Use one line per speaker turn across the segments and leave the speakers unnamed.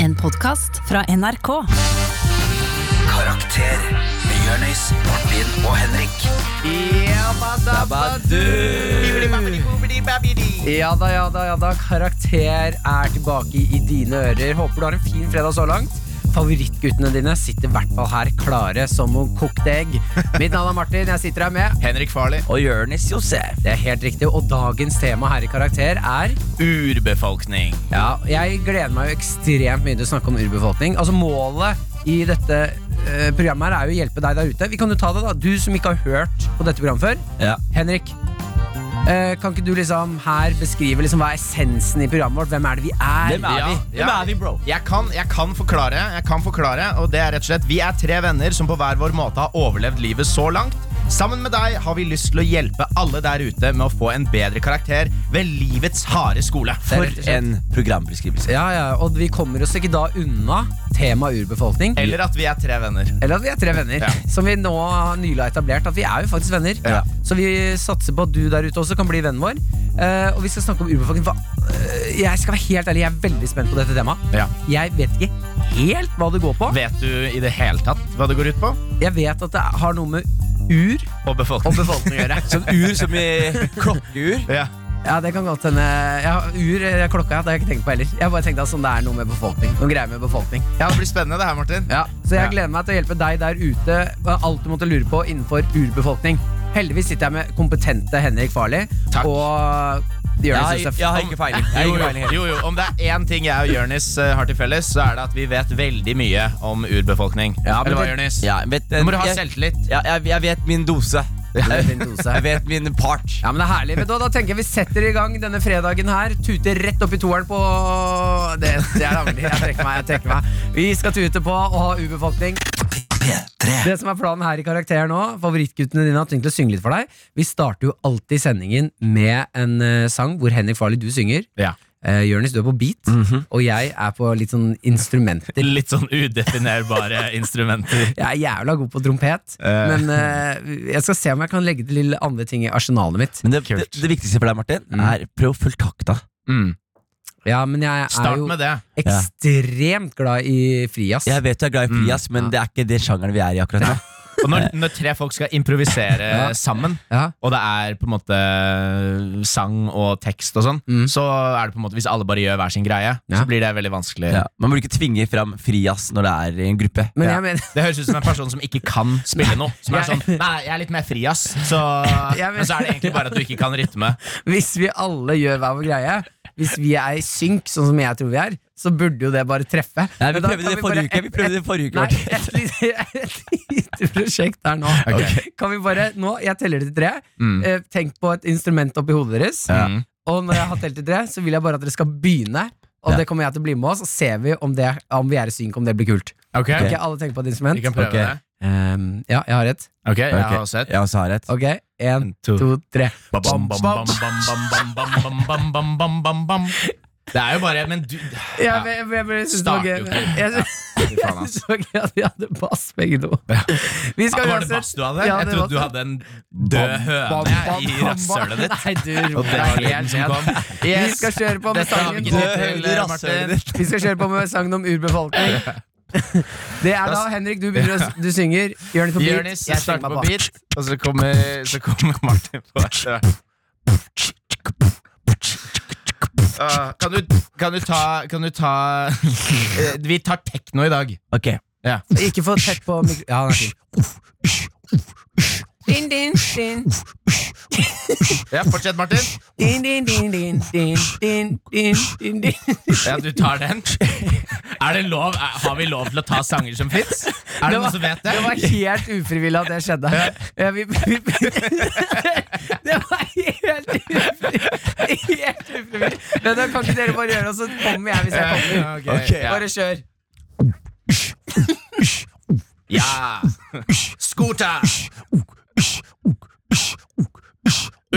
En podkast fra NRK.
Karakter med Jørnis, Martin og Henrik.
Ja da, ja da, ja da. Karakter er tilbake i dine ører. Håper du har en fin fredag så langt. Favorittguttene dine sitter i hvert fall her klare som noen kokte egg. Mitt navn er Martin, jeg sitter her med.
Henrik Farley.
Og Jørnis Josef.
Det er helt riktig, og dagens tema her i Karakter er
Urbefolkning.
Ja, jeg gleder meg jo ekstremt mye til å snakke om urbefolkning. Altså Målet i dette eh, programmet her er jo å hjelpe deg der ute. Vi kan jo ta det, da. Du som ikke har hørt på dette programmet før.
Ja.
Henrik, eh, kan ikke du liksom her beskrive liksom hva er essensen i programmet vårt? Hvem er det vi er?
Hvem er vi?
Ja.
Hvem er vi, bro?
Jeg kan, jeg kan forklare, jeg kan forklare, og det er rett og slett Vi er tre venner som på hver vår måte har overlevd livet så langt. Sammen med deg har vi lyst til å hjelpe alle der ute med å få en bedre karakter ved livets harde skole.
For en
programbeskrivelse.
Ja, ja, og vi kommer oss ikke da unna temaet urbefolkning.
Eller at vi er tre venner.
Eller at vi er tre venner,
Ja.
som vi nå nylig har etablert. At vi er jo faktisk venner.
Ja.
Så vi satser på at du der ute også kan bli vennen vår. Eh, og vi skal snakke om urbefolkning. For, eh, jeg skal være helt ærlig, jeg er veldig spent på dette temaet.
Ja.
Jeg vet ikke helt hva det går på.
Vet du i det hele tatt hva det går ut på?
Jeg vet at det har noe med ur
Og
og
befolkning.
befolkning å gjøre.
Sånn ur som i klokkeur.
Ja.
Ja, det kan godt hende. Ja, ur eh, klokka, det har jeg ikke tenkt på heller. Jeg har bare tenkt at sånn, det er noe med befolkning. Noen greier med befolkning.
ja, Det blir spennende, det her, Martin.
Ja, så jeg
Ja.
gleder meg til å hjelpe deg der ute med alt du måtte lure på innenfor urbefolkning. Heldigvis sitter jeg med kompetente Henrik Farley
Takk.
og
Jeg,
Jonis
har-
Josef.
jeg har ikke peiling. Jeg har
Jo,
ikke
jo,
peiling helt.
jo, jo, Om det er én ting jeg og Jørnis eh, har til felles, så er det at vi vet veldig mye om urbefolkning.
Ja, men
Eller hva,
det-
Jørnis?
Ja, vet,
Nå må du ha
jeg-
selvtillit.
Ja, jeg, jeg vet min dose.
vet din dose.
Jeg vet min part.
Ja, men det er herlig. Vet du, hva, da tenker jeg vi setter i gang denne fredagen her. Tuter rett opp i toeren på Det, det er lavlig. Jeg trekker meg. jeg trekker meg Vi skal tute på og ha urbefolkning.
P3.
Det som er planen her i Karakter nå, favorittguttene dine har tenkt å synge litt for deg. Vi starter jo alltid sendingen med en eh, sang hvor Henrik Farley, du synger.
Ja.
Uh, Jørnis, du er på beat,
Mhm.
og jeg er på litt sånn instrumenter.
Litt sånn udefinerbare instrumenter.
Jeg er jævla god på trompet,
Eh.
men eh, jeg skal se om jeg kan legge til litt andre ting i arsenalet mitt.
Men det, det,
Kult.
det viktigste for deg, Martin, er prøv å følge takta.
Ja, men jeg Mm. er
mm. Start
jo
med det.
ekstremt glad i frijazz.
Jeg vet du er glad i frias, men det er ikke det sjangeren vi er i akkurat nå.
Og når, når tre folk skal improvisere
Ja.
sammen,
Ja.
og det er på en måte eh, sang og tekst og sånn,
Mm.
så er det på en måte hvis alle bare gjør hver sin greie,
Ja.
så blir det veldig vanskelig.
Ja. Man burde ikke tvinge fram frias når det er i en gruppe.
Men
Ja.
jeg mener
Det høres ut som en person som ikke kan spille noe. Som er
Jeg-
sånn Nei, jeg er litt mer fri, ass. Så,
Jeg vet-
men så er det egentlig bare at du ikke kan rytme.
Hvis vi alle gjør hver vår greie, hvis vi er i synk, sånn som jeg tror vi er, så burde jo det bare treffe.
Nei, vi
Men da
prøvde
kan
det forrige
bare-
uke. Vi prøvde det forrige uke
Nei,
Martin.
et lite, et lite prosjekt her nå.
Ok.
Kan vi bare, nå, Jeg teller til tre.
Mm.
Eh, Tenk på et instrument oppi hodet deres.
Mm.
Og når jeg har telt til tre, så vil jeg bare at dere skal begynne. Og
Ja.
det kommer jeg til å bli med oss, og ser vi om, det, om vi er i synk, om det blir kult.
Ok,
Ok, alle tenker på et
Vi
instrument?
kan prøve
Ok.
det.
Ehm, ja, jeg har et.
Ok, jeg
Ok.
har også et.
Jeg også har et.
Ok, én, to, tre.
Bam, bam, bam, bam, bam, bam, bam, bam, bam, bam, bam, bam. Det er jo bare Men du
Ja, men- men- men jeg synes det var
Start
gøy.
jo ikke.
Jeg synes-
Fy faen,
jeg
ass.
synes det var gøy at vi hadde bass, begge to. Vi skal
Var det sånn.
uansett-
bass du hadde?
Ja,
jeg
det
trodde du
var-
hadde en død
Bam,
høne
bam,
i
bam, bam.
rasshølet ditt.
Nei, du
Og det var
roer deg
lyden
helt
som
ned.
kom.
Vi skal kjøre på med
Dette har vi
sangen
ikke tid
om-
til,
Høyde rasshølet
Martin.
ditt.
Vi skal kjøre på med sangen om urbefolkning. Det er da Henrik, du, begynner, å- du synger. Jonis på beat.
Jonis
jeg
starter
synger
på
på
beat, og så kommer, så kommer Martin på etter hvert. Ah, kan, du, kan du ta, kan du ta Eh, Vi tar tekno i dag.
Ok,
Ja.
Ikke for tett på mikro... Ja, den er fin. Din, din, din.
ja, Fortsett, Martin.
Din, din, din, din, din, din, din, din, din.
Ja, Du tar den. Er det lov, er, har vi lov til å ta sanger som fins? Er det noen som vet det?
Det var helt ufrivillig at det skjedde. Ja, vi, vi, det var helt ufrivillig. Helt ufrivillig. Men da kan ikke dere bare gjøre det, og så kommer jeg hvis jeg kommer.
Ja, ok.
Ok.
Ja.
Bare kjør.
Ja! Scooter!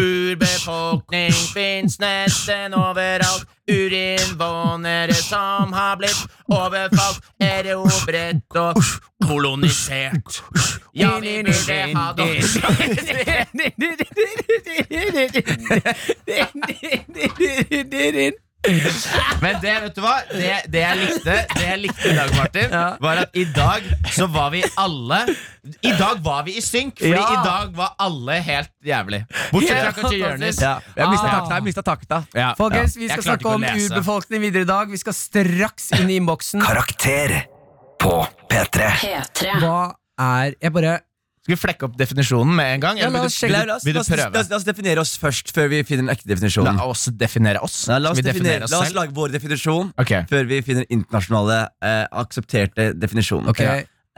Urbefolkning fins nesten overalt. Urinnvånere som har blitt overfalt, erobret og kolonisert. Ja, vi burde ha dere
Din, din, din, din, din, din, din, din, din, din, din, din, din.
Men det vet du hva Det, det, jeg, likte, det jeg likte i dag, Martin, var at i dag så var vi alle I dag var vi i synk, fordi
Ja.
i dag var alle helt jævlig. Bortsett fra
Helt
kanskje Jonis.
fantastisk.
Ja. Jeg mista
Ah.
takta. Jeg mistet takta.
Ja.
Folkens, vi
Jeg
skal
klarte
snakke
ikke å
om
lese.
urbefolkning videre i dag. Vi skal straks inn i innboksen.
Karakter på P3.
P3.
Hva er Jeg bare
Skal vi flekke opp definisjonen med en gang?
Ja, la
vil
oss
du-
sjekke-
vil
La
du-
oss,
vil du
la, oss, la,
prøve?
oss, la oss definere oss først, før vi finner den ekte definisjonen.
La oss definere oss.
Ja, la, oss
Skal vi
definere,
definere oss
la oss
selv?
lage vår definisjon
Ok,
før vi finner internasjonale eh, aksepterte definisjoner.
Ok,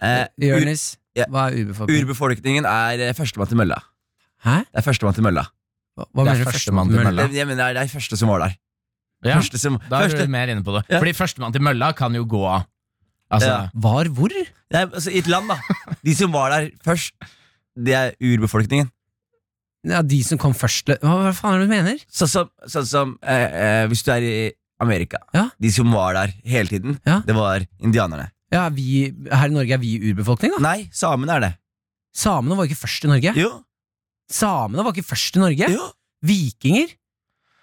Eh, ur,
Jonis.
ja.
Hva er urbefolkning?
urbefolkningen er eh, førstemann til mølla.
Hæ?
Det er førstemann til mølla.
Hva, hva
Det er
mener du
førstemann
førstemann
til
til
mølla.
Det, jeg mener, det er de første som var der.
ja,
Første som,
Da er
første,
du mer inne på det.
Ja.
Fordi førstemann til mølla kan jo gå av. Altså,
Ja.
mølla? Var hvor?
det er, altså, I et land, da. De som var der først, det er urbefolkningen.
Ja, de som kom først lø- Hva, hva faen er det du mener?
Sånn som, sånn som eh, eh, hvis du er i Amerika.
Ja.
De som var der hele tiden,
Ja.
det var indianerne.
Ja, vi, Her i Norge er vi urbefolkning, da.
Nei, samene er det.
Samene var ikke først i Norge.
Jo,
Samene var ikke først i Norge.
jo.
Vikinger?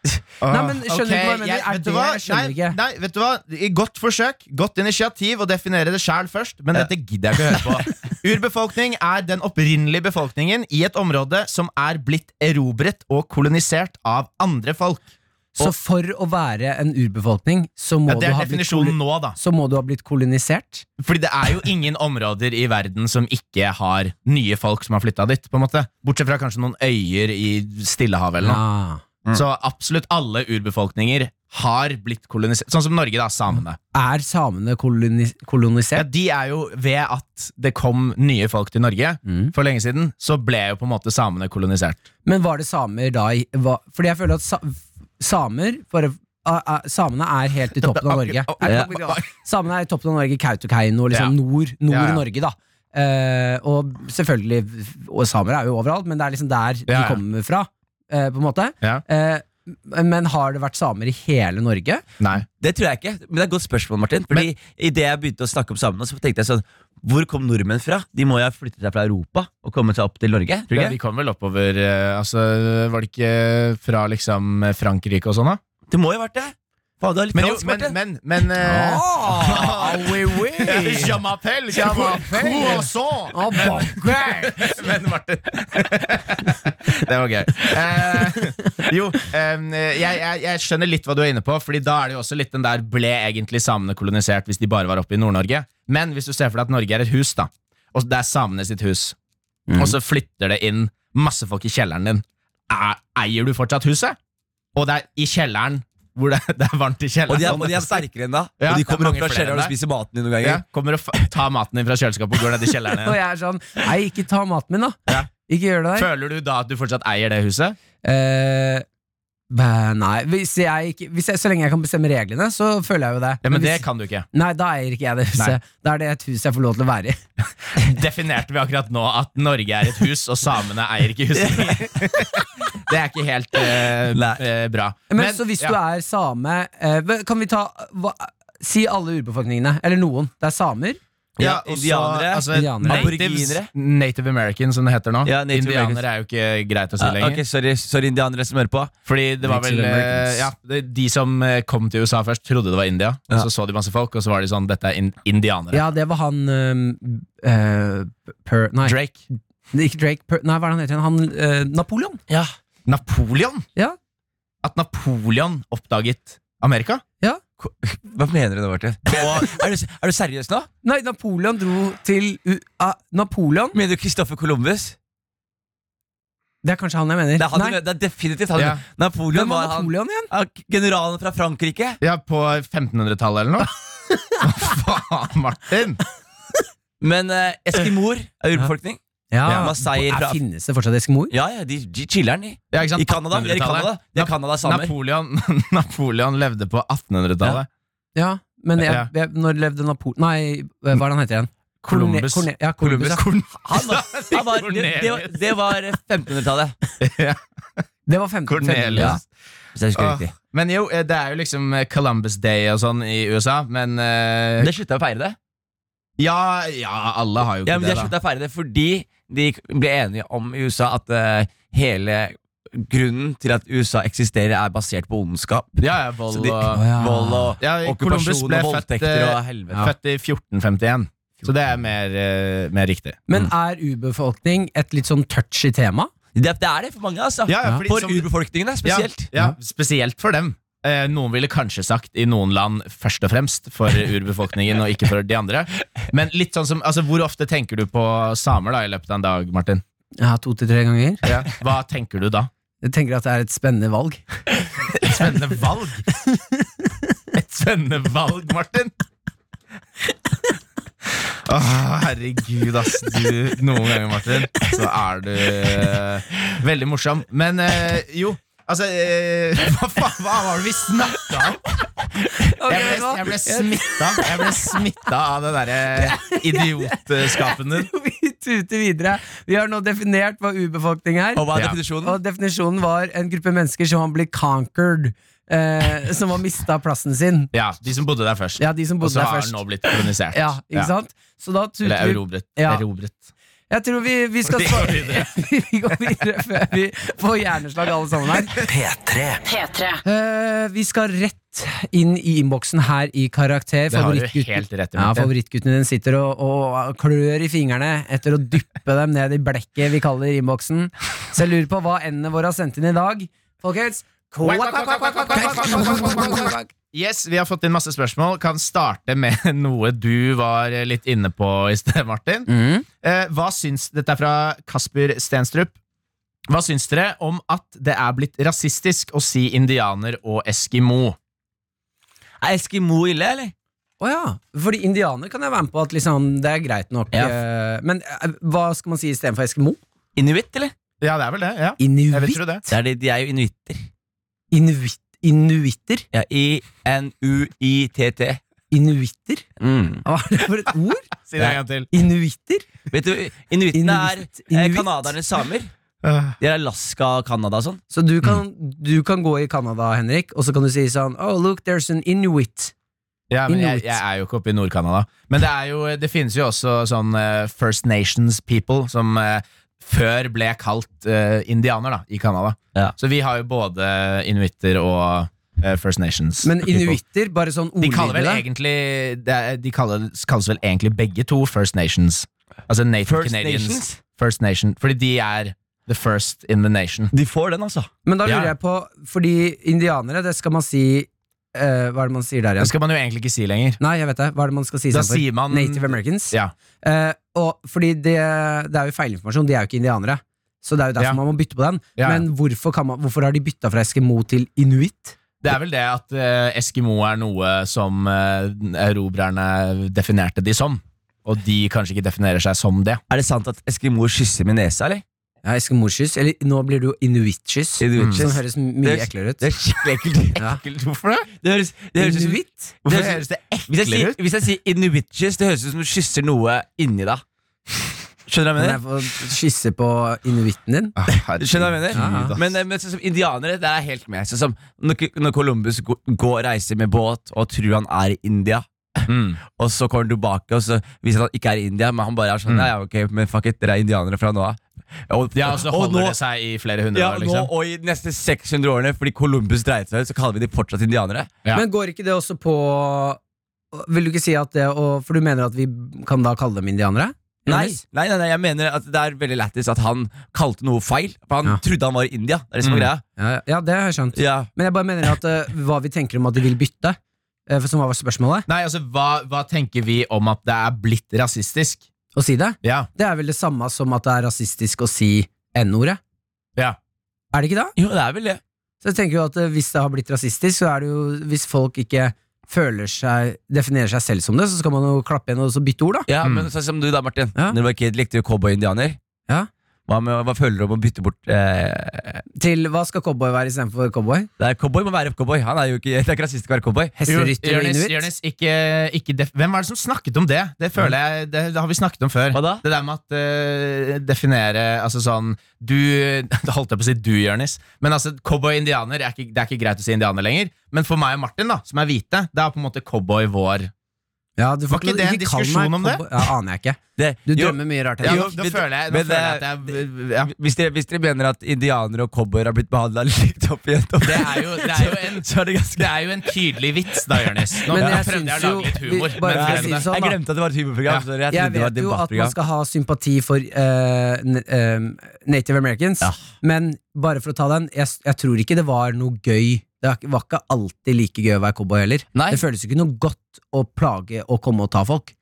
Nei,
Åh,
men skjønner
ok,
du ikke hva jeg mener? Er
vet du
det-
hva?
jeg skjønner
nei,
ikke.
Nei, vet du hva? I Godt forsøk, godt initiativ å definere det sjæl først, men
Ja.
dette gidder jeg ikke å høre på. Urbefolkning er den opprinnelige befolkningen i et område som er blitt erobret og kolonisert av andre folk.
Så for å være en urbefolkning, så
Ja,
må,
det
du,
er
ha blitt koli-
definisjonen nå, da.
så må du ha blitt kolonisert?
Fordi det er jo ingen områder i verden som ikke har nye folk som har flytta dit. på en måte Bortsett fra kanskje noen øyer i Stillehavet eller noe.
Ja.
Så absolutt alle urbefolkninger har blitt kolonisert. Sånn som Norge, da. Samene.
Er samene koloni
Ja,
kolonisert?
de er jo ved at det kom nye folk til Norge
Mm.
for lenge siden, så ble jo på en måte samene kolonisert.
Men var det samer da i hva, Fordi jeg føler at sa, samer bare, a- a- Samene er helt i toppen av Norge.
Ja.
Samene er i toppen av Norge, Kautokeino, liksom nord, nord
Ja, ja.
Norge, da. Eh, og selvfølgelig Og samer er jo overalt, men det er liksom der
Ja, ja.
de kommer fra, eh, på en måte.
Ja.
Eh, men har det vært samer i hele Norge?
Nei.
Det tror jeg ikke, men det er et godt spørsmål, Martin. Fordi Idet jeg begynte å snakke om samene, så tenkte jeg sånn Hvor kom nordmenn fra? De må jo ha flyttet seg fra Europa og kommet seg opp til Norge? Tror du
Ja,
ikke?
de kom vel oppover eh, altså, Var det ikke fra liksom Frankrike og sånn, da?
Det må jo ha vært det! Faen, du er litt
Men, jo,
fransk,
men,
Martin.
men, men eh,
euh, Ah, oui, oui.
Je m'appelle Croissant.
Ah, banquet.
Men Martin Det var gøy. Eh, jo, em, jeg, jeg, jeg skjønner litt hva du er inne på, Fordi da er det jo også litt den der ble egentlig samene kolonisert hvis de bare var oppe i Nord-Norge. Men hvis du ser for deg at Norge er et hus, da og det er samene sitt hus,
Mhm.
og så flytter det inn masse folk i kjelleren din, er, eier du fortsatt huset? Og det er i kjelleren hvor det, det er varmt i kjelleren.
Og de, er, og de er sterkere enn da.
Ja,
og
det
de
er
kommer opp
mange
fra
flere enn
kjelleren og
deg.
spiser maten din noen ganger.
ja, kommer og f tar maten din fra kjøleskapet og går ned i kjelleren
Og
igjen.
jeg er sånn Nei, ikke ta maten min, da.
Ja.
Ikke gjør det der.
Føler du da at du fortsatt eier det huset?
Eh, bæ, nei, hvis jeg ikke, hvis jeg, så lenge jeg kan bestemme reglene, så føler jeg jo det.
Ja, Men det
hvis,
kan du ikke.
Nei, da eier ikke jeg det huset. Da er det et hus jeg får lov til å være i.
Definerte vi akkurat nå at Norge er et hus, og samene eier ikke huset? det er ikke helt eh,
Nei.
eh, bra.
Men, så hvis du er same eh, hva- Kan vi ta hva, Si alle urbefolkningene. Eller noen. Det er samer.
Ja,
altså,
indianere,
indianere.
Natives,
Aboriginere.
Native American, som det heter nå.
Ja, Native
indianere er jo ikke greit å si
Ja,
lenger.
Ah, ok, sorry, sorry, indianere som hører på.
Fordi det var
Native
vel eh,
Americans.
ja, det- De som eh, kom til USA først, trodde det var India.
Ja.
Og så så de masse folk, og så var de sånn Dette er in indianere.
Ja, det var han eh, eh, per, Nei,
Drake.
ikke Drake. Per, nei, hva er det han heter? Han, eh, Napoleon.
Napoleon?
Ja.
At Napoleon oppdaget Amerika?
Hva mener du nå, Martin? er, du, er du seriøs nå?
Nei, Napoleon dro til U ah, Napoleon?
Mener du Kristoffer Columbus?
Det er kanskje han jeg mener.
Det er, han,
Nei,
du- det er definitivt han.
Ja.
Napoleon
Hvem
var
var
han.
Napoleon igjen?
Ja, Generalen fra Frankrike.
Ja, på 1500-tallet eller noe? Hva faen, Martin?
Men eh, eskimoer er urbefolkning. Ja, Masai
Er-
fra-
Finnes det fortsatt eskimoer?
Ja, ja, de, de chiller'n, de.
Ja, ikke sant?
I Canada. De er i
1800-tallet.
Canada. De er Canada-samer.
Napoleon, Napoleon levde på 1800-tallet.
Ja, men jeg,
Ja.
jeg, når levde Napoleon Nei, hva er det han heter igjen?
Columbus.
Corne, Corne, ja, Columbus, ja.
Corn-
Han var, han var, det, det var, det var eh, 1500-tallet.
Det var 15
Cornelius.
Ja.
Hvis jeg husker
Åh,
riktig.
Men jo, eh, det er jo liksom eh, Columbus Day og sånn i USA, men eh,
Det slutta å feire det.
ja, ja, alle har jo
Ja,
ikke
men De har
det, da.
sluttet å feire det fordi de ble enige om i USA at eh, hele grunnen til at USA eksisterer, er basert på ondskap.
Ja, ja, vold og
Så de, Vold og
ja, Columbus
okkupasjon
ble
og
født,
voldtekter og
eh,
helvete.
født i 1451. Så det er mer, eh, mer riktig.
Men er urbefolkning et litt sånn touchy tema?
Det, det er det for mange, altså.
Ja, ja, fordi
for
som-
urbefolkningen, er spesielt.
Ja, ja, spesielt for dem. Eh, noen ville kanskje sagt i noen land først og fremst for urbefolkningen og ikke for de andre. Men litt sånn som, altså hvor ofte tenker du på samer da i løpet av en dag, Martin?
Ja, to til tre ganger.
Hva tenker du da?
Jeg tenker at det er et spennende valg.
Et spennende valg. Et spennende valg, Martin. Å, herregud, ass. Du, noen ganger, Martin, så er du eh, veldig morsom. Men eh, jo, altså eh, Hva faen hva var det vi snakka om? Jeg ble, jeg ble smitta Jeg ble smittet av den derre idiotskapen din.
Vi tuter videre. Vi har nå definert hva urbefolkning er.
Og hva er
Ja.
definisjonen?
Og definisjonen var en gruppe mennesker som har blitt conquered. Eh, som har mista plassen sin.
Ja, De som bodde der først.
Ja, de som
Og
bodde
så
der
har den
først.
nå blitt kolonisert.
Ja, ikke sant? Så da tuter
Eller
vi
erobret.
Ja.
erobret.
Jeg tror vi, vi skal
Vi går
svare
videre.
Vi går videre før vi får hjerneslag alle sammen her.
P3.
P3.
Eh, vi skal rett inn i innboksen her i Karakter.
Det har du
Favorittgutten-
helt rett i,
ja,
Martin.
favorittguttene dine sitter og, og klør i fingrene etter å dyppe dem ned i blekket vi kaller innboksen. Så jeg lurer på hva endene våre har sendt inn i dag. Folkens
Yes, Vi har fått inn masse spørsmål. Kan starte med noe du var litt inne på i sted, Martin.
Mm.
Eh, hva syns, Dette er fra Kasper Stenstrup. Hva syns dere om at det er blitt rasistisk å si indianer og eskimo?
Er Eskimo ille, eller?
Å ja. Fordi indianer kan jeg være med på at liksom, det er greit nok.
Ja.
eh, Men eh, hva skal man si istedenfor eskimo?
Inuitt, eller?
Ja, det er vel det. ja Jeg vil
Inuitt?
tro det.
Det er de, de er jo inuitter.
Inuitt? Inuitter?
Ja, I-N-U-I-T-T.
Inuitter?
Mm.
Hva er det for et ord?
Si det en gang til.
Inuitter?
Vet du, Inuittene er
Inuitt,
eh,
inuitt.
canadiernes samer.
Øh,
De er Alaska og Canada og sånn.
Så du kan,
Mm.
du kan gå i Canada, Henrik, og så kan du si sånn Oh, look, there's an inuit.
Ja, men jeg,
Inuit.
jeg er jo ikke oppe i Nord-Canada. Men det, er jo, det finnes jo også sånn eh, First Nations people som eh, før ble kalt eh, indianer da, i Canada.
Ja.
Så vi har jo både inuitter og eh, First Nations.
Men
people.
inuitter, bare sånn
De kaller vel
ordlyder.
egentlig det er- De kaller, kalles vel egentlig begge to First Nations. Altså Native
First
Canadians.
Nations?
First Nation. Fordi de er the first in the nation.
De får den, altså.
Men da lurer
Ja.
jeg på, fordi indianere, det skal man si eh, Hva er det man sier der
Det
igjen?
skal man jo egentlig ikke si lenger.
Nei, jeg vet det. Hva er det man skal si
Da
istedenfor?
sier man-
Native Americans?
Ja.
Eh, og fordi det, det er jo feilinformasjon, de er jo ikke indianere. Så det er jo derfor
Ja.
man må bytte på den.
Ja.
Men hvorfor, kan man, hvorfor har de bytta fra Eskimo til inuitt?
Det er vel det at eh, Eskimo er noe som eh, erobrerne definerte de som. Og de kanskje ikke definerer seg som det.
Er det sant at eskimoer kysser med nesa, eller?
Ja, Eskimoskyss. Eller nå blir det jo inuittskyss.
Inuittskyss.
Mm. Som høres mye
Det-
eklere ut.
Det er skikkelig ekkelt.
Ja.
Hvorfor det?
Det høres, det høres ut som
Inuitt?
det
Hvorfor
høres-
høres det
Hvis jeg
eklere
sier,
ut?
hvis jeg sier inuitkyss, det høres ut som du kysser noe inni deg.
Kan
Skjønner du hva jeg
jeg
mener?
få kysse på inuitten din?
Ah,
Skjønner du hva jeg
Ja,
Mm.
mener?
ja.
Men, eh, men sånn som indianere, det er jeg helt med. Sånn som når, når Columbus går, går og reiser med båt og tror han er i India,
Mm.
og så kommer han tilbake og så viser han at han ikke er i India, men han bare er sånn Nei, ja, ok, men fuck it, dere er indianere fra nå av. Og,
Ja, og så
og
holder
nå-
altså det seg i flere hundre
ja,
år,
nå
liksom.
og i de neste 600 årene, fordi Columbus dreit seg ut, så kaller vi de fortsatt indianere.
Ja.
Men går ikke det også på Vil du ikke si at det å For du mener at vi kan da kalle dem indianere?
Nei,
Jonas?
nei, nei, nei, jeg mener at det er veldig lættis at han kalte noe feil. For han
Ja.
trodde han var i India. Det er det som
Mm.
er greia.
Ja, ja, det har jeg skjønt.
Ja.
Men jeg bare mener at eh, hva vi tenker om at de vil bytte, eh, for som var spørsmålet,
Nei, altså, hva, hva tenker vi om at det er blitt rasistisk?
å si det,
Ja,
det er vel det samme som at det er rasistisk å si N-ordet.
ja.
Er det ikke det?
Jo, det er vel det.
Så jeg tenker jo at eh, hvis det har blitt rasistisk, så er det jo Hvis folk ikke føler seg definerer seg selv som det, så skal man jo klappe igjen og så bytte ord, da.
Ja,
Mm.
Men sånn som du da, Martin.
Ja.
Når du var kid, likte du cowboy-indianer.
Ja.
Hva, med, hva føler du om å bytte bort eh,
Til hva skal cowboy være istedenfor cowboy?
det er Cowboy må være cowboy. Han er jo ikke, det er ikke rasistisk å være cowboy.
Hesterytter og
Jonis,
inuitt?
Jonis, ikke, ikke def Hvem var det som snakket om det? Det føler jeg, det, det har vi snakket om før.
Hva da?
Det der med at eh, definere Altså sånn Du Da holdt jeg på å si du, Jonis. Men altså, cowboy-indianer er ikke, Det er ikke greit å si indianer lenger. Men for meg og Martin, da som er hvite, det er på en måte cowboy vår
Ja, du får
Var ikke
lov-
det en
kall meg
diskusjon om det?
cowboy. Ja, aner jeg ikke.
Det-
Du
jo,
drømmer mye rart.
Ja,
Henrik.
nå, nå
men-
føler jeg, nå
men,
føler jeg at jeg ja.
Hvis, dere, hvis dere mener at indianere og cowboyer har blitt behandla litt opp igjen
det, er jo, det, er jo en,
så er det ganske
det er jo en tydelig vits, da, Jonis. Nå
Men jeg
prøvde jeg å
syns
lage litt
jo-
humor.
vi- bare
men
for
glem
å si
det.
det sånn, da.
Jeg glemte at det var et humorprogram.
Ja.
sorry, Jeg,
Jeg
trodde det var
vet
et
jo at man
debattprogram.
skal ha sympati for eh, n- eh, native americans,
Ja.
men bare for å ta den, jeg, s- jeg tror ikke det var noe gøy. Det var ikke- var ikke alltid like gøy å være cowboy heller.
Nei.
Det føles jo ikke noe godt å plage og komme og ta folk.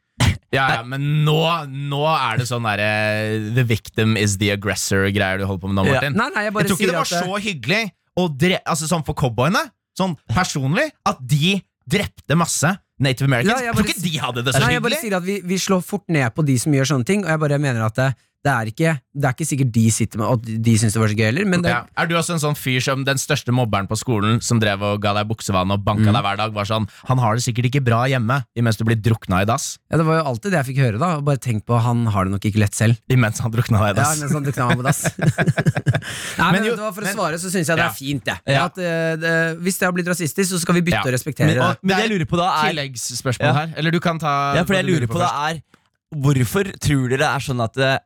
Ja, ja, men nå, nå er det sånn derre The victim is the aggressor-greier du holder på med nå,
Ja.
Martin.
Nei, nei, jeg
Jeg
bare
tror ikke
sier
det var
at eh, det-
så hyggelig å dre altså, sånn for cowboyene, sånn personlig, at de drepte masse Native Americans.
Ja, jeg
jeg tror
bare
ikke de hadde det så
Nei, jeg bare
hyggelig.
sier at vi, vi slår fort ned på de som gjør sånne ting, og jeg bare mener at det, det, er, ikke, det er ikke sikkert de sitter med at de syns det var så gøy heller, men det,
Ja. Er du også en sånn fyr som den største mobberen på skolen som drev og ga deg buksevann og
Mm.
banka deg hver dag, var sånn Han har det sikkert ikke bra hjemme imens du blir drukna i dass.
ja, det var jo alltid det jeg fikk høre, da. og Bare tenk på, han har det nok ikke lett selv.
Imens han drukna deg i
Ja,
dass.
mens han dukna meg på dass. Nei, men,
jo-
vet du hva, for å
men-
svare så syns jeg det
Ja.
er fint, det.
Ja.
At, eh, det. Hvis det har blitt rasistisk, så skal vi bytte
Ja.
og respektere det.
Men det jeg lurer på da er
Tilleggsspørsmål
Ja.
her. Eller du kan ta
Ja, for
hva
jeg
du
lurer på da
først.
er Hvorfor tror dere det er sånn at eh,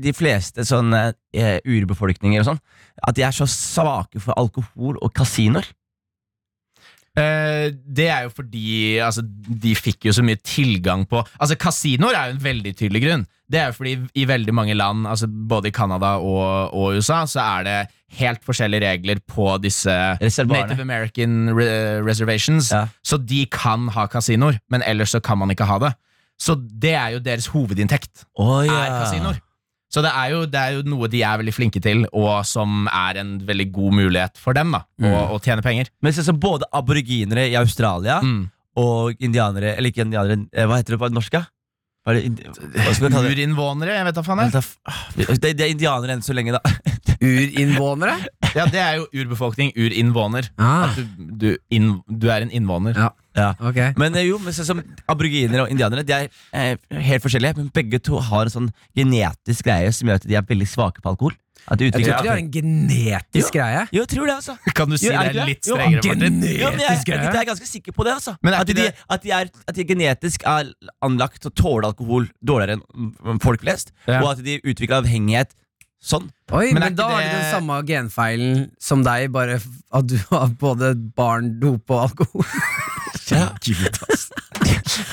de fleste sånne eh, urbefolkninger og sånn At de er så svake for alkohol og kasinoer?
Eh, det er jo fordi altså, de fikk jo så mye tilgang på Altså Kasinoer er jo en veldig tydelig grunn. Det er jo fordi i veldig mange land, altså både i Canada og, og USA, så er det helt forskjellige regler på disse
Reservoarene.
Native American re reservations.
Ja.
Så de kan ha kasinoer, men ellers så kan man ikke ha det. Så det er jo deres hovedinntekt
Oh,
er kasinoer. Så det er, jo, det er jo noe de er veldig flinke til, og som er en veldig god mulighet for dem da, å, å tjene penger.
Men så, så både aboriginere i Australia
Mm.
og indianere Eller ikke indianere, eh, hva heter det på norsk? da? Hva er det indi- hva skal vi ta det?
Urinnvånere, jeg vet da faen. Jeg.
Vent da, f- ah, Det, det er indianere enn så lenge, da.
Urinnvånere?
Ja, det er jo urbefolkning, urinnvåner.
Ah,
Du, du, inn, du er en innvåner.
Ja.
Ja.
ok.
Men eh, jo, men sånn som aboriginere og indianere De er eh, helt forskjellige, men begge to har en sånn genetisk greie som gjør at de er veldig svake på alkohol. At de
Jeg tror
utvikler
ikke de har en genetisk greie.
Jo, jeg tror det, altså.
Kan du si
Jo, er
det
det ikke
er
det?
litt
Jo,
strengere, Martin?
Ja, men jeg,
Genetisk
jeg,
greie?
jeg er ganske sikker på det. altså
Men er
at,
ikke
de,
det-
at, de er, at de genetisk er anlagt til å tåle alkohol dårligere enn mm, folk flest,
Ja.
og at de utvikler avhengighet sånn.
Oi,
Men
men,
er ikke
da har de
det-
den samme genfeilen som deg, bare f- at du har både barn, dop og alkohol.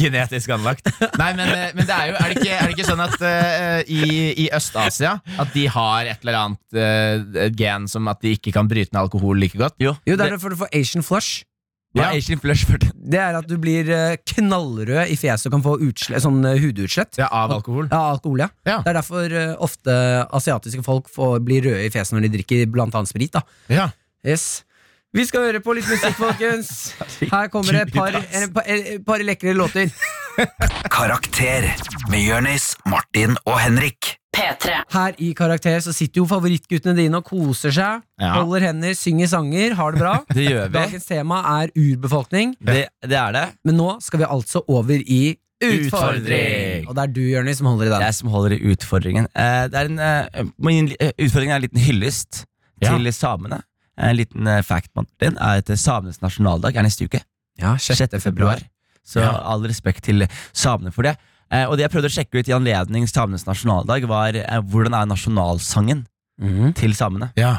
Genetisk anlagt. Nei, men, eh, men det er jo Er det ikke, er det ikke sånn at eh, i, i Øst-Asia at de har et eller annet eh, gen som at de ikke kan bryte ned alkohol like godt?
Jo,
Jo, det er derfor du får Asian flush.
Hva er
Ja.
Asian flush for det?
Det er at du blir eh, knallrød i fjeset og kan få utsle- sånn eh, hudutslett.
Ja, av alkohol.
Ja, alkohol, ja.
Ja.
Det er derfor eh, ofte asiatiske folk får, blir røde i fjeset når de drikker blant annet sprit. da
Ja.
Yes Vi skal høre på litt musikk, folkens. Her kommer det et par, en, pa- en, par lekre låter.
Karakter med Jørnis, Martin og Henrik.
P3.
Her i Karakter så sitter jo favorittguttene dine og koser seg.
Ja.
Holder hender, synger sanger, har det bra.
Det gjør vi.
Dagens tema er urbefolkning,
Det, det er det.
men nå skal vi altså over i
Utfordring.
Og det er du, Jørnis, som holder i
Det
den.
er jeg som holder i utfordringen. Eh, det er en, eh, min, eh, utfordringen er en liten hyllest
Ja.
til samene. En liten eh, fact Martin, er at samenes nasjonaldag er neste uke.
Ja,
6. februar. Så
Ja.
all respekt til samene for det. Eh, og det jeg prøvde å sjekke ut i anledning samenes nasjonaldag, var eh, hvordan er nasjonalsangen
Mhm.
til samene.
Ja.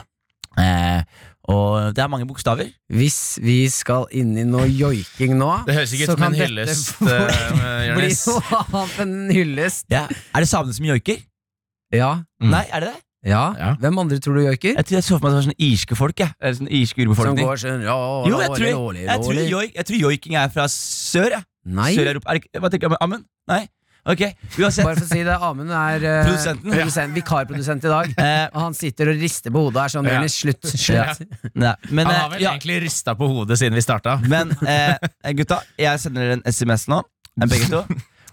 Eh, og det er mange bokstaver.
Hvis vi skal inn i noe joiking nå,
Det høres ikke ut
så
som en
kan dette
hyllest,
bli-
eh,
bli
Jonis.
noe av en hyllest.
Ja. Er det samene som joiker?
Ja.
Mm.
Nei, er det det?
ja.
Ja.
Hvem andre tror du joiker?
Jeg, tror jeg så for meg at det var sånn irske folk. Jeg. Eller sånn irske
Som
urbefolkning.
går sånn ja,
Jo, jeg tror,
rolig, rolig,
jeg, tror
rolig.
joik, jeg tror joiking er fra sør. jeg.
Nei,
Sør-Europa. Er det ikke- Hva tenker jeg? Amund? Nei? Ok, uansett.
bare for å si det. Amund er eh,
Produsenten.
produsent, vikarprodusent i dag.
Eh,
Og han sitter og rister på hodet og er sånn
Ja.
Jonis, slutt. slutt.
nei, men,
Han
eh,
har vel
ja,
egentlig rista på hodet siden vi starta.
men eh, gutta, jeg sender dere en SMS nå, eh, begge to.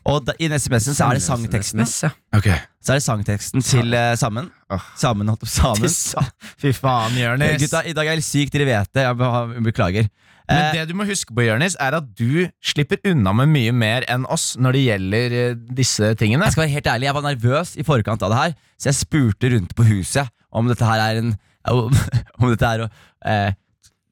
Og da, i den SMS-en så er det sangteksten
SMS, ja.
Så er det sangteksten til eh, Sammen.
Åh.
Sammen, holdt på sammen.
Fy faen,
Eh,
Jonis.
Gutta, i dag er jeg litt syk, dere vet det. Jeg be- beklager.
Men det du må huske på, Jonis, er at du slipper unna med mye mer enn oss når det gjelder eh, disse tingene.
Jeg skal være helt ærlig, jeg var nervøs i forkant av det her, så jeg spurte rundt på huset om dette her er en Om, om dette er å eh,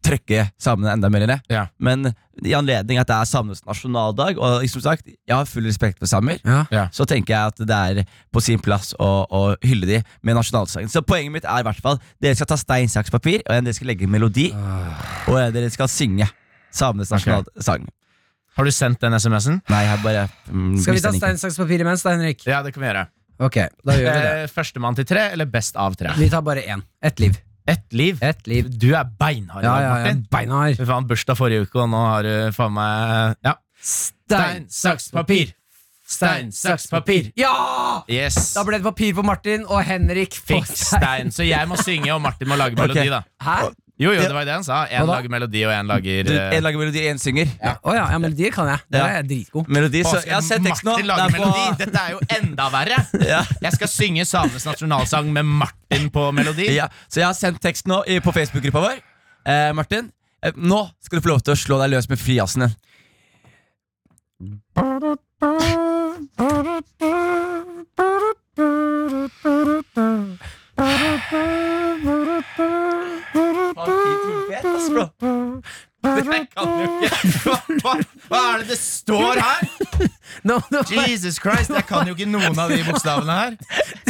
trøkke samene enda mer i det.
Ja.
Men i anledning at det er samenes nasjonaldag, og som sagt, jeg har full respekt for samer,
Ja.
så tenker jeg at det er på sin plass å, å hylle de med nasjonalsangen. Så poenget mitt er i hvert fall dere skal ta stein, saks, papir, og dere skal legge en melodi,
Ah.
og dere skal synge samenes nasjonalsang.
Har du sendt den SMS-en?
Nei, jeg bare mm,
Skal vi ta
mistenker.
stein, saks, papir imens, da, Henrik?
Ja, det kan vi gjøre.
Ok, da gjør vi det.
Eh, Førstemann til tre, eller best av tre?
Vi tar bare én. Ett liv.
Ett liv.
Ett liv.
Du er beinhard,
Ja, ja, ja.
Martin.
Beinhard.
Fy faen, bursdag forrige uke, og nå har du faen meg Ja.
Stein,
saks, papir.
stein, saks, papir. Ja!
Yes.
Da ble det papir på Martin, og Henrik får
Fikk stein. Så jeg må synge, og Martin må lage melodi,
Ok.
da.
Hæ?
Jo, jo, det var jo det han sa. Én
Hva da?
lager melodi, og én lager
Du,
eh,
en lager melodi, en synger.
Å ja. ja, melodier kan jeg. Der er jeg dritgod.
Melodi,
Å,
så
skal
jeg har sett teksten nå.
Martin
Det
lage
er på-
melodi? Dette er jo enda verre!
Ja.
Jeg skal synge samenes nasjonalsang med Martin på melodi.
Ja, så jeg har sendt tekst nå i- på Facebook-gruppa vår. Eh, Martin, eh, nå skal du få lov til å slå deg løs med frijazzen din.
Jeg kan jo ikke hva, hva, hva er det det står her?!
Nå må du bare,
Jesus Christ, jeg kan jo ikke noen av de bokstavene her.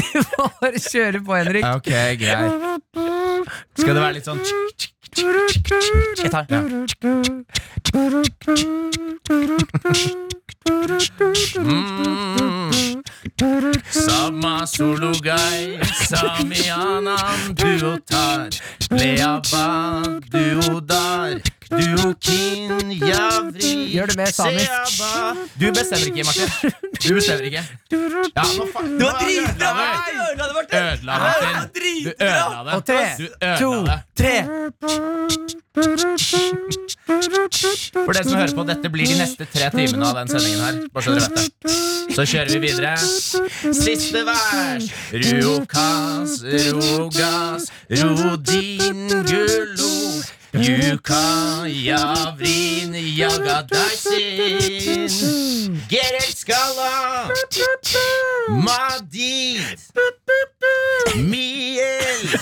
du må bare kjøre på, Henrik.
Ok, greit. Skal det være litt sånn
Jeg tar den.
Sama solugai, samianan duotar Leabag duodar, duokin javri
Gjør det mer samisk.
seaba. Du bestemmer ikke, Martin Du bestemmer ikke ja, nå fa-
Det var
nå
dritbra!
ødela
Martin.
du.
Du ødela det, Martin.
Ødela, Martin Du ødela det
Og tre,
Du ødela
to,
det.
Tre.
For dere som hører på, dette blir de neste tre timene av den sendingen her. Bare så dere vet det. Så kjører vi videre. Siste vers. Ruokas, rogas, rodin, gullo. Juka, javrin, jagadaisin. Gerelt skala. Madid. Miel.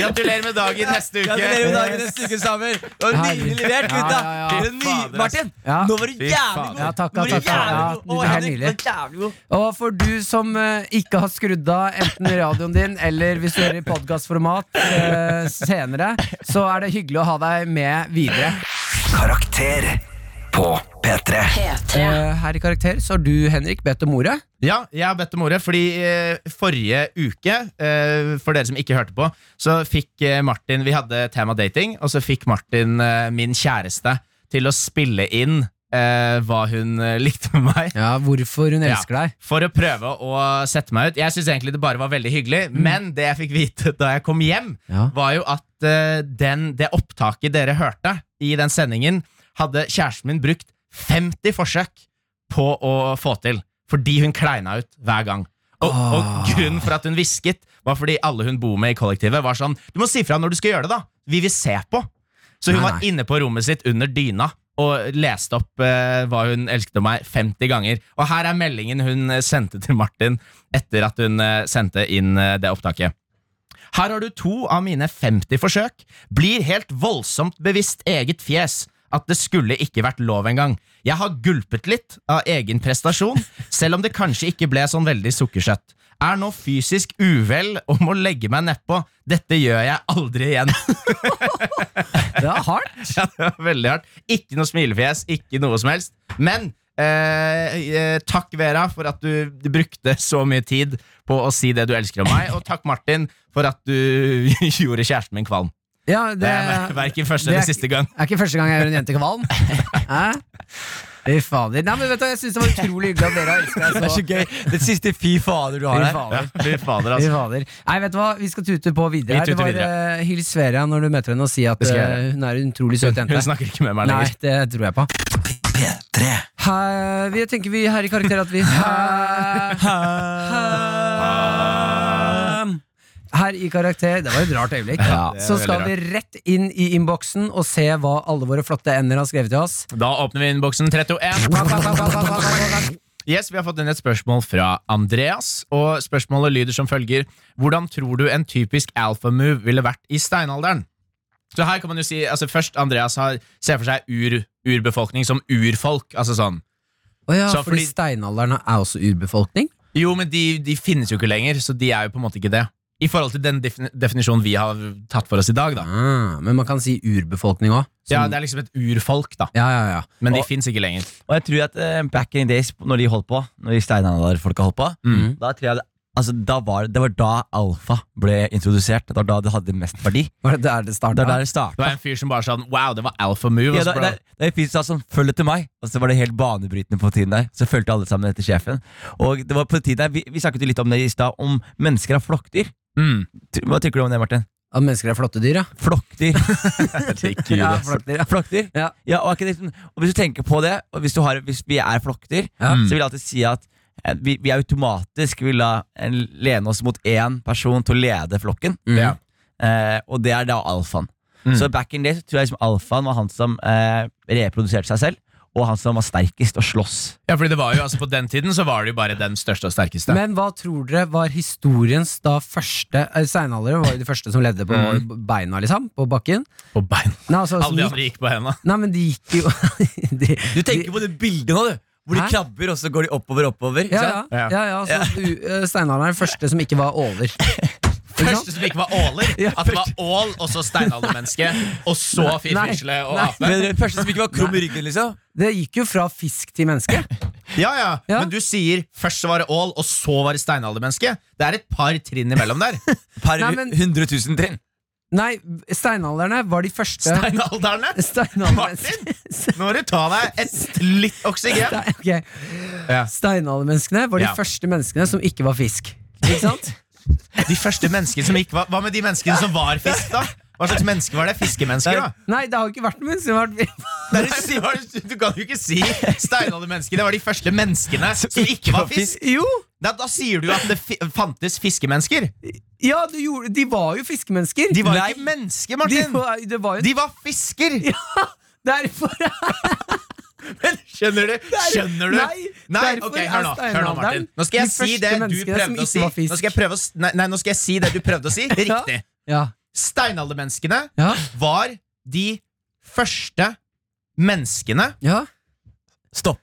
Gratulerer med dagen neste uke.
Gratulerer med dagen, neste uke, Samer. Det var Nydelig levert, gutta.
Ja, ja, ja.
Det er ny- Martin,
Ja.
nå var du
Fy
jævlig
fader.
god.
Ja, takk,
Nå var du
takk, takk.
jævlig
Ja,
god. Å,
det er
Henrik,
nydelig.
du var jævlig god.
Og for du som eh, ikke har skrudd av enten radioen din eller hvis du hører i podkastformat eh, senere, så er det hyggelig å ha deg med videre.
Karakter på P3.
Eh, her i Karakter så har du, Henrik, bedt om ordet.
Ja, jeg har bedt om ordet, fordi eh, forrige uke, eh, for dere som ikke hørte på, så fikk eh, Martin Vi hadde tema dating, og så fikk Martin, eh, min kjæreste, til å spille inn eh, hva hun eh, likte med meg.
Ja, Hvorfor hun elsker deg.
For å prøve å sette meg ut. Jeg syns egentlig det bare var veldig hyggelig, men det jeg fikk vite da jeg kom hjem,
Ja.
var jo at eh, den, det opptaket dere hørte i den sendingen, hadde kjæresten min brukt 50 forsøk på å få til. Fordi hun kleina ut hver gang. Og, og grunnen for at hun hvisket, var fordi alle hun bor med i kollektivet, var sånn Du må si fra når du skal gjøre det, da! Vi vil se på! Så hun
Nei,
var
nei.
inne på rommet sitt under dyna og leste opp eh, hva hun elsket om meg 50 ganger. Og her er meldingen hun eh, sendte til Martin etter at hun eh, sendte inn eh, det opptaket. Her har du to av mine 50 forsøk. Blir helt voldsomt bevisst eget fjes. At det skulle ikke vært lov engang. Jeg har gulpet litt av egen prestasjon, selv om det kanskje ikke ble sånn veldig sukkersøtt. Er nå fysisk uvel og må legge meg nedpå. Dette gjør jeg aldri igjen.
Det er hardt.
Ja, det var veldig hardt. Ikke noe smilefjes, ikke noe som helst. Men eh, eh, takk, Vera, for at du, du brukte så mye tid på å si det du elsker om meg. Og takk, Martin, for at du gjorde kjæresten min kvalm.
Ja,
Det
det
er
er
verken første
det er-
eller siste gang.
ikke første gang jeg gjør en jente kvalm. Hæ? Fy fader. Nei, men vet du, jeg syns det var utrolig hyggelig at dere har elska
Det
deg
er
så.
så gøy. Det siste fy fader du
Fy
har her.
Ja,
fader.
fy fader,
Fy
altså.
fader. Nei, vet du hva, vi skal tute på videre.
Vi
her. Det
tuter
var,
videre.
eh, Hils Vera når du møter henne, og si at
Det skal jeg
eh, hun er en utrolig søt jente.
Hun snakker ikke med meg
Nei,
lenger.
det tror jeg på.
P3.
Her, vi tenker vi her i karakter at vi Her, her i karakter Det var et rart øyeblikk.
det er
Så skal vi
veldig
rett inn i innboksen og se hva alle våre flotte ender har skrevet til oss.
Da åpner vi innboksen 31. Yes, Vi har fått inn et spørsmål fra Andreas. og Spørsmålet lyder som følger Hvordan tror du en typisk alfamove ville vært i steinalderen? Så her kan man jo si altså Først Andreas har, ser for seg ur, urbefolkning som urfolk. Altså sånn
Å ja,
Så
fordi,
fordi-
steinalderen er også urbefolkning?
Jo, men de, de finnes jo ikke lenger, så de er jo på en måte ikke det. I forhold til den defin definisjonen vi har tatt for oss i dag, da.
Ah, men man kan si urbefolkning òg.
Ja, Det er liksom et urfolk, da.
ja, ja, ja.
Men de
Og-
fins ikke lenger.
Og jeg tror at eh, back in the days, når de holdt på, når de steinalderfolka holdt på,
Mm.
da tror jeg det, altså, da var, det var da alfa ble introdusert. Det var da det hadde mest verdi.
Var det der det starta?
Det er der det
Det
starta.
var en fyr som bare sa sånn, Wow, det var alpha move.
Ja,
altså,
det, det,
bro.
det er en fyr som sa sånn, Følg etter meg. Og så var det helt banebrytende på tiden der. Så fulgte alle sammen etter sjefen. Og det var på tiden der, Vi, vi snakket jo litt om det i stad, om mennesker har flokkdyr.
Mm.
Ty- Hva tenker du om det, Martin?
At mennesker er flotte dyr, ja.
Flokkdyr.
ja, flokkdyr, ja.
flokkdyr.
Ja.
Ja, og, er ikke det sånn- og Hvis du tenker på det, og hvis, du har, hvis vi er flokkdyr,
Ja.
så vil jeg alltid si at eh, vi, vi automatisk vil da eh, lene oss mot én person til å lede flokken.
Mm.
Ja.
Eh, og det er da alfaen.
Mm.
Så back in day så tror jeg liksom alfaen var han som eh, reproduserte seg selv, og han som var sterkest og sloss.
Ja, fordi det var jo, altså På den tiden så var det jo bare den største og sterkeste.
Men hva tror dere var historiens da første eh, Steinalderen var jo de første som levde på
Mm.
beina, liksom. På bakken.
på bein.
Nei, altså, som
Alle de
gikk-
andre gikk på henda.
Nei, men de gikk jo de,
Du tenker på det bildet nå, du! Hvor
Hæ?
de krabber, og så går de oppover oppover. ikke
Ja,
sant?
ja, ja, ja så, u- eh, Steinalderen er den første som ikke var åler. Ikke
Første
sant?
som ikke var åler.
Ja,
At det var ål, og så steinaldermenneske, og så firfisle og
nei.
ape.
Men det første som ikke var krum i ryggen, liksom.
Det gikk jo fra fisk til menneske.
Ja, ja,
Ja.
Men du sier først så var det ål, og så var det steinaldermenneske. Det er et par trinn imellom der.
Per
Nei, men-
100 000 trinn.
Nei, steinalderne var de første
Steinalderne!
Steinaldermenneske-
Nå må du ta deg et litt oksygen.
Nei, ok.
Ja.
Steinaldermenneskene var de
Ja.
første menneskene som ikke var fisk. Ikke sant?
De første menneskene som ikke var Hva med de menneskene som var fisk, da? Hva slags mennesker var det? Fiskemennesker, da?
Nei, det har jo ikke vært noe menneske som har vært
Nei, det var, du kan jo ikke si steinaldermennesker. Det var de første menneskene som ikke var fisk.
Jo!
Da, da sier du at det fi fantes fiskemennesker.
Ja, du gjorde, de var jo fiskemennesker.
De var
Nei,
ikke mennesker,
de
Martin!
var, det var jo
De var fisker!
Derfor
Skjønner du? Skjønner du?
Nei,
nei
derfor
ok, hør nå,
er
hør nå, Martin.
steinalderen
Nå skal jeg
de
si
første
det du
menneskene som
prøvde å
ikke
si.
var fisk.
Nå skal jeg prøve å, s- nei, nei, nå skal jeg si det du prøvde å si. Riktig.
Ja.
Steinaldermenneskene
Ja.
var de første menneskene
ja.
Stopp.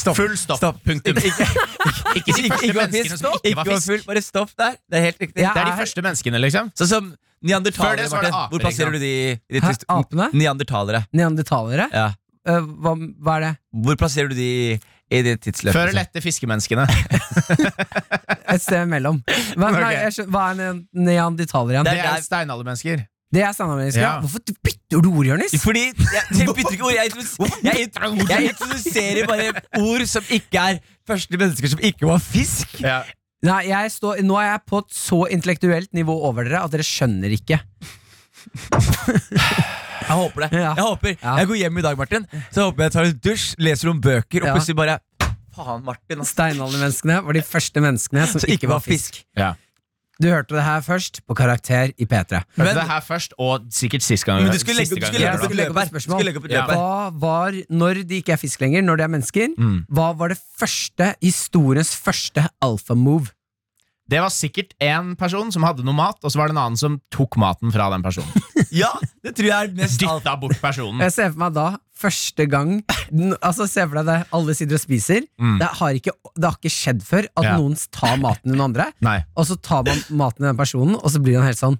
Full stopp.
Stopp.
Punktum. Ikke, de
Ikke,
første
ikke var
menneskene
fisk.
som ikke
Ikke
var
var
fisk.
full. Bare stopp der. Det er helt riktig.
Ja.
Det er de første menneskene, liksom.
Sånn som
Før
neandertalere,
det så var det
Martin.
aper,
Hvor plasserer
ikke
du de? i ditt
Hæ,
hist-
apene?
Neandertalere.
Neandertalere?
Ja.
Eh, hva, hva er det?
Hvor plasserer du de i ditt tidsløp?
Før eller etter fiskemenneskene.
Et sted imellom. Hva, nei,
Ok.
jeg skjønner, hva er ne- neandertaler igjen?
Det
Det,
er steinaldermennesker.
er standardmennesker.
Ja.
Hvorfor du bytter du ord, Jonis?
Fordi Jeg jeg bytter ikke ord. Jeg, introdus- jeg, int- jeg introduserer bare ord som ikke er første mennesker som ikke var fisk.
Ja.
Nei, jeg står, Nå er jeg på et så intellektuelt nivå over dere at dere skjønner ikke.
Jeg håper det.
Ja.
Jeg håper
Ja.
Jeg går hjem i dag, Martin. Så håper jeg tar en dusj, leser noen bøker, og
Ja.
plutselig bare Faen, Martin. ass.
Steinaldermenneskene var de første menneskene som
Så
ikke var fisk.
Ja.
Du hørte det her først på Karakter i P3.
Hørte
Men-
det her først, og sikkert sist gang.
Men du skulle legge,
siste
du
gang
skulle legge
Jeg
opp et
skulle legge opp et
løp her. Du
spørsmål.
skulle legge opp et
Ja.
løp her.
Hva var, når de ikke er fisk lenger, når de er mennesker, hva var det første historiens første alfamove?
Det var sikkert én person som hadde noe mat, og så var det en annen som tok maten fra den personen.
Ja, det tror jeg er mest alt.
Dytta bort personen.
Jeg ser for meg da første gang n- Altså Se for deg det, alle sitter og spiser. Det, har ikke, det har ikke skjedd før at
Ja.
noen tar maten til noen andre,
Nei.
og så tar man maten til den personen, og så blir han helt sånn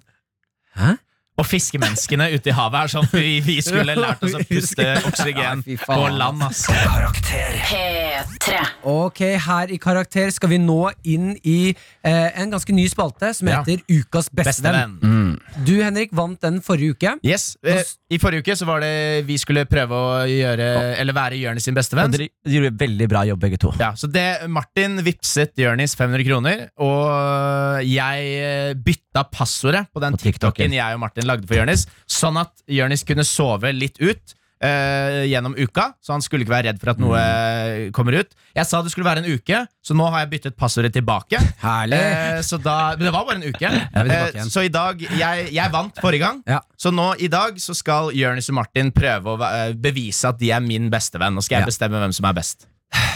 Hæ?
Og fiskemenneskene ute i havet er sånn vi, vi skulle lært oss å puste oksygen
Ja, fy
på
faen.
land, ass.
Karakter.
P3.
Ok, her i Karakter skal vi nå inn i eh, en ganske ny spalte som
Ja.
heter Ukas bestevenn.
Bestevenn.
Du, Henrik, vant den forrige uke.
Yes, eh, I forrige uke så var det vi skulle prøve å gjøre, eller være Jørnis sin bestevenn.
Dere gjorde veldig bra jobb, begge to.
Ja, så det, Martin vipset Jørnis 500 kroner, og jeg eh, bytta passordet på den
På TikToken.
TikToken jeg og Martin lagde for Jørnis, sånn at Jørnis kunne sove litt ut. eh, gjennom uka, så han skulle ikke være redd for at noe eh,
Mm.
kommer ut. Jeg sa det skulle være en uke, så nå har jeg byttet passordet tilbake. Eh, så da, men det var bare en uke.
er tilbake
Eh,
igjen.
så i dag jeg, jeg vant forrige gang,
Ja.
så nå i dag så skal Jørnis og Martin prøve å eh, bevise at de er min bestevenn. Nå skal jeg
Ja.
bestemme hvem som er best.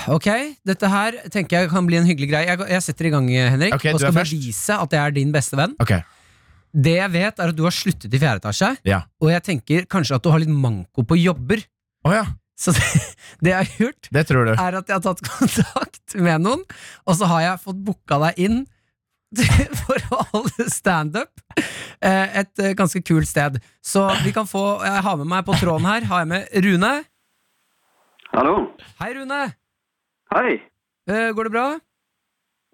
Ok, dette her tenker jeg kan bli en hyggelig greie. Jeg, jeg setter i gang, eh, Henrik,
Ok,
og
du er
skal
først.
bevise at jeg er din beste venn. Det jeg vet, er at du har sluttet i fjerde etasje,
Ja.
og jeg tenker kanskje at du har litt manko på jobber.
Å ja,
Så det, det jeg har gjort,
det tror du.
er at jeg har tatt kontakt med noen, og så har jeg fått booka deg inn til- for å holde standup eh, et eh, ganske kult sted. Så vi kan få Jeg har med meg på tråden her, har jeg med Rune.
Hallo.
Hei, Rune.
Hei.
Eh, Går det bra?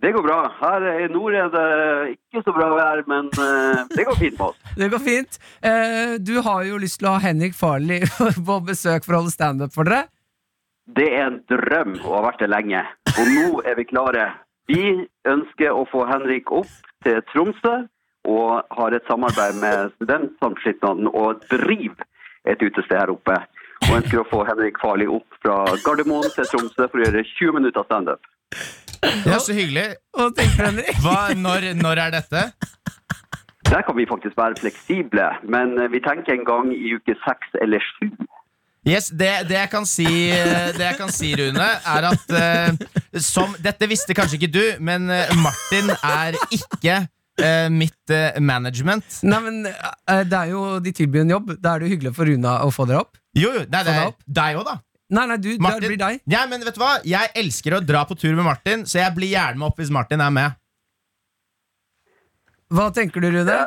Det går bra. Her i nord er det ikke så bra vær, men eh, det går fint med oss.
Det går fint. Eh, Du har jo lyst til å ha Henrik Farley på besøk for å holde standup for dere.
Det er en drøm og har vært det lenge. Og nå er vi klare. Vi ønsker å få Henrik opp til Tromsø og har et samarbeid med Studentsamskipnaden og driver et utested her oppe. Og ønsker å få Henrik Farley opp fra Gardermoen til Tromsø for å gjøre 20 minutter standup.
Ja, Så hyggelig.
Hva tenker du, Henrik?
Hva, når, når er dette?
Der kan vi faktisk være fleksible, men eh, vi tenker en gang i uke seks eller sju.
Yes, det, det, jeg kan si, eh, det jeg kan si, Rune, er at eh, som, Dette visste kanskje ikke du, men eh, Martin er ikke eh, mitt eh, management.
Nei, men eh, det er jo, De tilbyr en jobb. Da er det jo hyggelig for Runa å få dere opp.
Jo, jo, nei, det
Få
er
deg opp.
deg òg, da.
Nei, nei, du, det
Martin.
blir deg.
Ja, men vet du hva? Jeg elsker å dra på tur med Martin, så jeg blir gjerne med opp hvis Martin er med.
Hva tenker du, Rune?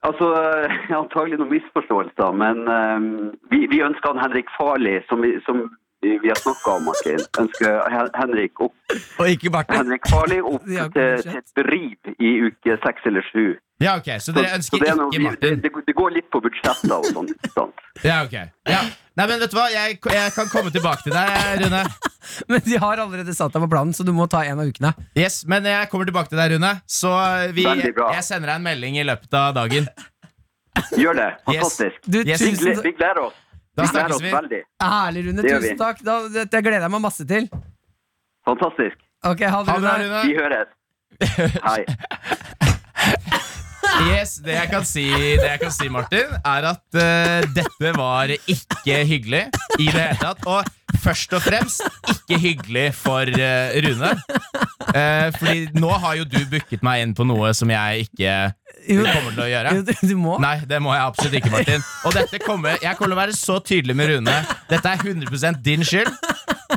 Altså, eh, antagelig noen misforståelser, men eh, vi, vi ønsker han Henrik Farli, som vi, som vi vi har snakka om, Martin. Ønsker Hen- Henrik, opp,
Og ikke Martin.
Henrik Farli opp
Ja,
til, til et driv i uke seks eller sju.
Ja, ok, Så
Så-
dere
så
ønsker
det er noe
ikke
vi-
Martin?
Det, det går litt på budsjettet og sånn. ikke sant?
Ja, ok ja. Nei, men vet du hva? Jeg, jeg kan komme tilbake til deg, Rune.
Men de har allerede satt deg på planen, så du må ta en av ukene.
Yes, Men jeg kommer tilbake til deg, Rune. Så eh, vi,
Veldig bra.
jeg sender deg en melding i løpet av dagen.
Gjør det.
Yes.
Fantastisk.
Du,
Yes.
Vi,
tusen
gleder,
takk.
vi gleder oss.
Da
Vi gleder
snakkes
oss
vi.
veldig.
Herlig, Rune.
Det gjør vi.
Tusen takk. Da, dette gleder jeg meg masse til.
Fantastisk.
Ok, ha det,
Ha det bra,
Rune.
Rune.
Vi høres. Hei.
Yes, det jeg kan si, det jeg kan si Martin, er at eh, dette var ikke hyggelig i det hele tatt. Og først og fremst ikke hyggelig for eh, Rune. Eh, fordi nå har jo du booket meg inn på noe som jeg ikke
Jo.
kommer til å gjøre.
Jo, du, du må.
Nei, det må jeg absolutt ikke, Martin. Og dette kommer, jeg kommer til å være så tydelig med Rune. Dette er 100 din skyld.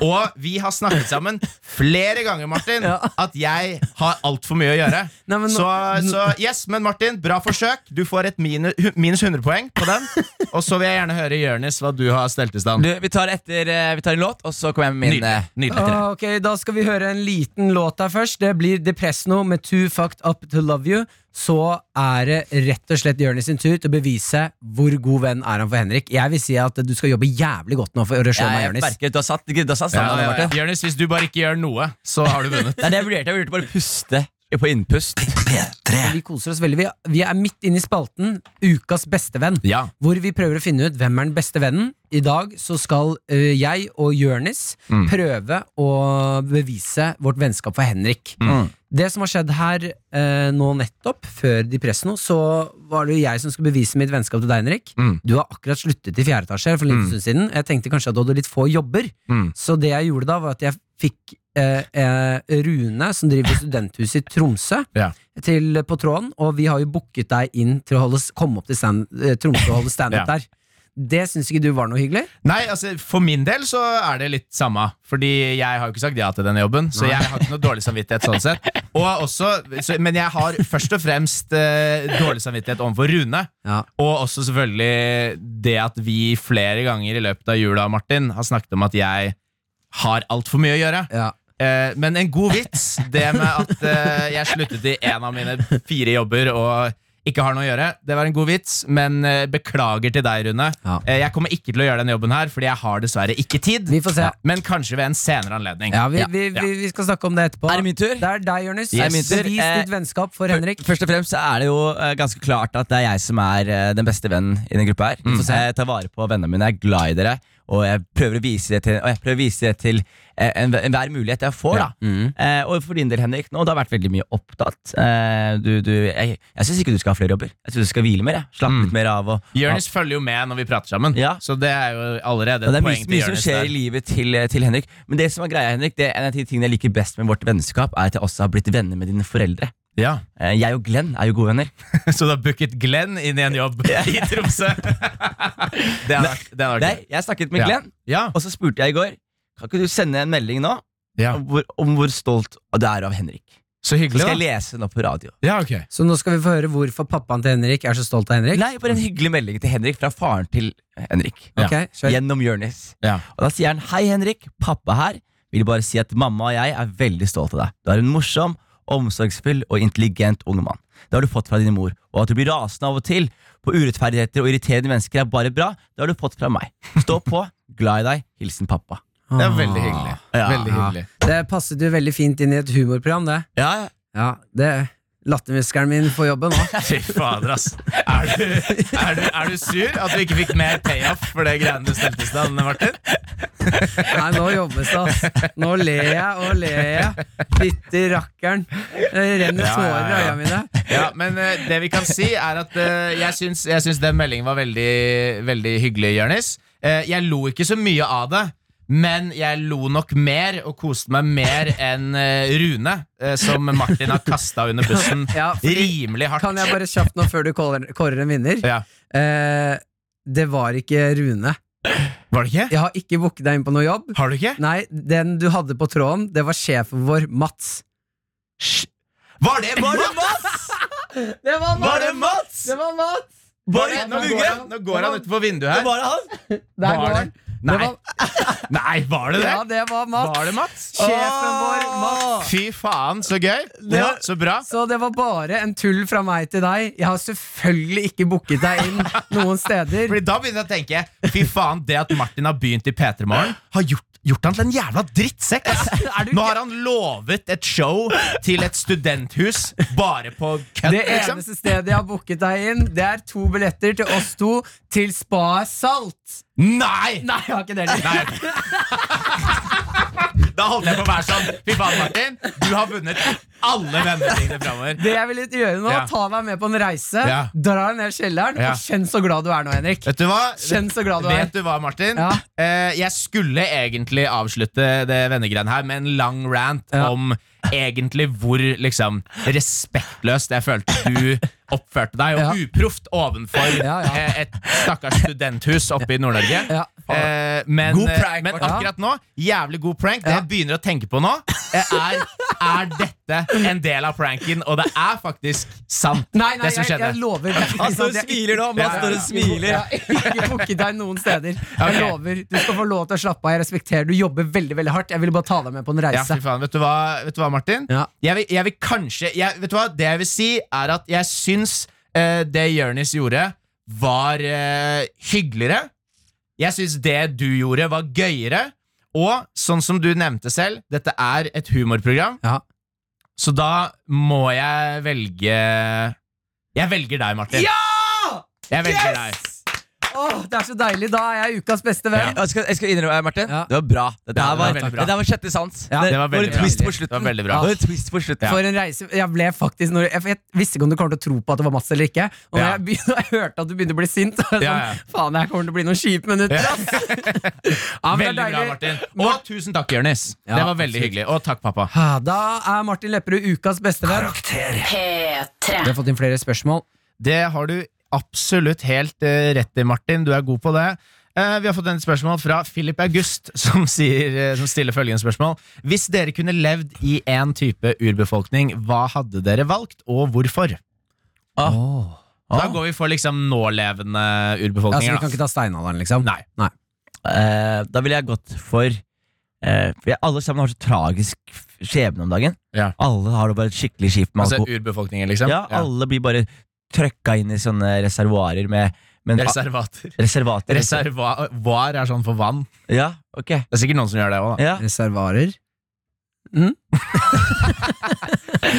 Og vi har snakket sammen flere ganger, Martin,
Ja.
at jeg har altfor mye å gjøre.
Nei, men nå-
så, så yes, men Martin, bra forsøk. Du får et minu, hu- minus 100 poeng på den. Og så vil jeg gjerne høre, Jørnis, hva du har stelt i stand.
Du, vi tar, etter, eh, vi tar en låt, og så kommer jeg med min eh,
Nydelig.
Ah, ok, Da skal vi høre en liten låt der først. Det blir Depresno med Too Fucked Up To Love You. Så er det rett og slett Jonis sin tur til å bevise hvor god venn er han for Henrik. Jeg vil si at du skal jobbe jævlig godt nå for å slå meg,
Jeg
Jonis.
merker, du har satt, du har
Ja,
satt sammen,
ja, ja.
Martin.
Jørnis, hvis du bare ikke gjør noe, så har du vunnet.
Det er det jeg vurderte. Jeg vurderte bare å puste på innpust.
P3.
Vi koser oss veldig. Vi, vi er midt inne i spalten Ukas bestevenn.
Ja.
Hvor vi prøver å finne ut hvem er den beste vennen. I dag så skal ø, jeg og Jørnis
Mm.
prøve å bevise vårt vennskap for Henrik.
Mm.
Det som har skjedd her ø, nå nettopp, før De Presso, så var det jo jeg som skulle bevise mitt vennskap til deg, Henrik.
Mm.
Du har akkurat sluttet i fjerde etasje for en liten stund siden. Jeg tenkte kanskje at du hadde litt få jobber.
Mm.
Så det jeg gjorde da, var at jeg fikk eh, eh, Rune, som driver studenthuset i Tromsø,
Ja.
til, eh, på tråden. Og vi har jo booket deg inn til å holde, komme opp til stand, eh, Tromsø og holde standup
Ja.
der. Det syns ikke du var noe hyggelig?
Nei, altså For min del så er det litt samme. Fordi jeg har jo ikke sagt ja til denne jobben. Så jeg har ikke noe dårlig samvittighet sånn sett og også, så, Men jeg har først og fremst eh, dårlig samvittighet overfor Rune.
Ja.
Og også selvfølgelig det at vi flere ganger i løpet av jula Martin har snakket om at jeg har altfor mye å gjøre.
Ja.
Eh, men en god vits, det med at eh, jeg sluttet i en av mine fire jobber og ikke har noe å gjøre, det var en god vits, men eh, beklager til deg, Rune.
Ja.
Eh, jeg kommer ikke til å gjøre den jobben her, fordi jeg har dessverre ikke tid.
Vi får se.
Men kanskje ved en senere anledning.
Ja, vi,
Ja,
vi,
ja.
vi, vi skal snakke om det etterpå.
Er det min tur?
Det er deg, Jonis.
Yes.
Bevis
Er det min tur?
ditt
Eh,
vennskap for Henrik.
Først og fremst så er det jo eh, ganske klart at det er jeg som er eh, den beste vennen i den gruppa her.
Mm.
Jeg tar vare på vennene mine, jeg er glad i dere, og jeg prøver å vise det til, og jeg prøver å vise det til eh, en- enhver mulighet jeg får. da.
Mm.
Eh, og for din del, Henrik, nå, det har vært veldig mye opptatt. Eh, du, du, jeg jeg syns ikke du skal ha flere jobber. Jeg syns du skal hvile mer. jeg. Slappe
Mm.
litt mer av. Og,
Jonis følger jo med når vi prater sammen,
Ja.
så det er jo allerede
Ja,
et
det er
poeng
mye,
til
mye som
Jonis
skjer i
der.
livet til, eh, til Henrik. Men det som er greia, Henrik, det er en av de tingene jeg liker best med vårt vennskap, er at jeg også har blitt venner med dine foreldre.
Ja.
Eh, Jeg og Glenn er jo gode venner.
Så du har booket Glenn inn i en jobb i Tromsø? Det hadde vært- det hadde vært
Nei,
gøy.
jeg snakket med
Ja.
Glenn,
Ja.
og så spurte jeg i går Kan ikke du sende en melding nå
ja.
om hvor, om hvor stolt du er av Henrik.
Så
Så
hyggelig,
skal jeg
da.
lese den opp på radio.
Ja, ok.
Så nå skal vi få høre hvorfor pappaen til Henrik er så stolt av Henrik.
Nei, bare en hyggelig melding til Henrik fra faren til Henrik.
Ja.
Ok, kjør.
Gjennom Jonis.
Ja.
Og da sier han Hei Henrik, pappa her Vil bare si at mamma og jeg er veldig stolt av deg Du er en morsom, omsorgsfull og intelligent ung mann Det har du fått fra din mor Og at du blir rasende av og til På urettferdigheter og irriterende mennesker er bare bra Det har du fått fra meg Stå på, glad i deg, hilsen pappa
Det er veldig hyggelig.
Ja.
Veldig hyggelig.
Det passet jo veldig fint inn i et humorprogram, det.
Ja,
Ja, det Lattermuskelen min får jobben nå.
Fy fader, ass. Er du, er, du, er du sur at du ikke fikk mer payoff for det greiene du stelte i stad, Anne Martin?
Nei, nå jobbes det, ass. Nå ler jeg og ler jeg. Fytti rakkeren. Eh, Det renner
Ja, ja,
tårer i
ja.
øya mine.
Ja, men eh, det vi kan si er at eh, jeg, syns, jeg syns den meldingen var veldig, veldig hyggelig, Jørnis. Eh, jeg lo ikke så mye av det, men jeg lo nok mer og koste meg mer enn eh, Rune, eh, som Martin har kasta under bussen
Ja, fordi,
rimelig hardt.
kan jeg bare kjapt nå før du kårer, kårer en vinner?
Ja.
Eh, det var ikke Rune.
Var det ikke?
Jeg har ikke booket deg inn på noe jobb.
Har du ikke?
Nei, den du hadde på tråden, det var sjefen vår, Mats.
Var det Var det Mats?
Det var Mats!
Var det Mats?
Det var Mats!
Var det- Nå går han, nå går han utenfor vinduet her.
Bare han
Der
Var
går
det?
han.
Nei.
Det var,
Nei, var det det?
ja, det var Mats.
Var det Mats?
Sjefen vår, Mats.
Fy faen, så gøy. Ja, så bra.
Så det var bare en tull fra meg til deg. Jeg har selvfølgelig ikke booket deg inn noen steder.
Fordi da begynner jeg å tenke Fy faen, det at Martin har begynt i P3 Morgen, har gjort, gjort han til en jævla drittsekk. ass. Nå har han lovet et show til et studenthus bare på kødd,
Det
liksom.
eneste stedet jeg har booket deg inn, det er to billetter til oss to til Spa Salt.
Nei!
Nei, jeg har ikke det. heller.
Nei. Da holdt jeg på å være sånn. Fy faen, Martin, du har vunnet alle vennene dine framover.
Det jeg ville gjøre nå,
Ja.
ta deg med på en reise,
Ja.
dra deg ned i kjelleren,
Ja.
og kjenn så glad du er nå, Henrik.
Vet du hva?
Kjenn så glad du er.
Vet du hva, Martin?
Ja.
Eh, jeg skulle egentlig avslutte det vennegreiene her med en lang rant
Ja.
om egentlig hvor liksom respektløst jeg følte du oppførte deg, og uproft ovenfor
Ja, ja.
eh, et stakkars studenthus oppe i Nord-Norge.
Ja.
Eh, men,
God prank,
eh, men
Martin.
akkurat nå, jævlig god prank. Det
Ja.
jeg begynner å tenke på nå, eh, er, er dette en del av pranken, og det er faktisk sant,
Nei, nei,
det som
jeg,
skjedde.
jeg lover. Det er ikke
Han står
sant,
og
jeg-
smiler nå
Ja,
Mats
ja,
står
ja.
og smiler
Jeg har ikke booket deg noen steder. Jeg
Ok.
lover. Du skal få lov til å slappe av. Jeg respekterer. Du jobber veldig veldig hardt. Jeg ville bare ta deg med på en
Ja,
reise.
fy faen. Vet du hva, vet du hva Martin?
Ja.
Jeg, vil, jeg vil kanskje jeg, Vet du hva, det jeg vil si, er at jeg syns eh, det Jørnis gjorde, var eh, hyggeligere. Jeg syns det du gjorde, var gøyere. Og sånn som du nevnte selv, dette er et humorprogram,
Ja.
så da må jeg velge Jeg velger deg, Martin. Jeg velger deg.
Åh, det er så deilig. Da er jeg ukas beste venn.
jeg skal, jeg skal innrømme, Martin
Ja.
Det var bra Dette
Ja,
her
det var
var,
veldig bra.
dette her var sjette sans
Ja,
det var veldig
en
bra.
twist
Det
på
var
slutten
veldig bra.
Det var en twist på slutten
For en reise Jeg ble faktisk når, jeg, for jeg visste ikke om du kom til å tro på at det var Mats eller ikke. Og når
Ja.
jeg, begynte, jeg hørte at du begynte å bli sint, så var jeg
Ja,
sånn,
ja.
faen, jeg kommer til å bli noen kjipe minutter.
Ja.
ass. Ja, men det er
Veldig bra,
deilig.
Martin. Og tusen takk, Jørnis.
Ja,
det var veldig hyggelig. Og takk, pappa.
Ah, Da er Martin Lepperød ukas beste venn.
Karakter.
Vi har fått inn flere spørsmål.
Det har du absolutt helt eh, rett i, Martin. Du er god på det. Eh, vi har fått et spørsmål fra Philip August, som, sier, eh, som stiller følgende spørsmål. Hvis dere kunne levd i én type urbefolkning, hva hadde dere valgt, og hvorfor?
ah.
Da går vi for liksom nålevende
Ja, så vi
urbefolkninger.
kan ikke ta steinalderen, liksom?
Nei.
Eh, Da ville jeg gått for eh, For jeg- alle sammen har så tragisk f- skjebne om dagen.
Ja.
Alle har det bare skikkelig kjipt med
Altså
alkohol.
urbefolkninger, liksom?
Ja, alle blir bare trøkka inn i sånne reservoarer med men,
Reservater.
ah, Reservater.
Reserva- var er sånn for vann.
Ja, ok.
Det er sikkert noen som gjør det òg, da.
Ja.
Reservarer.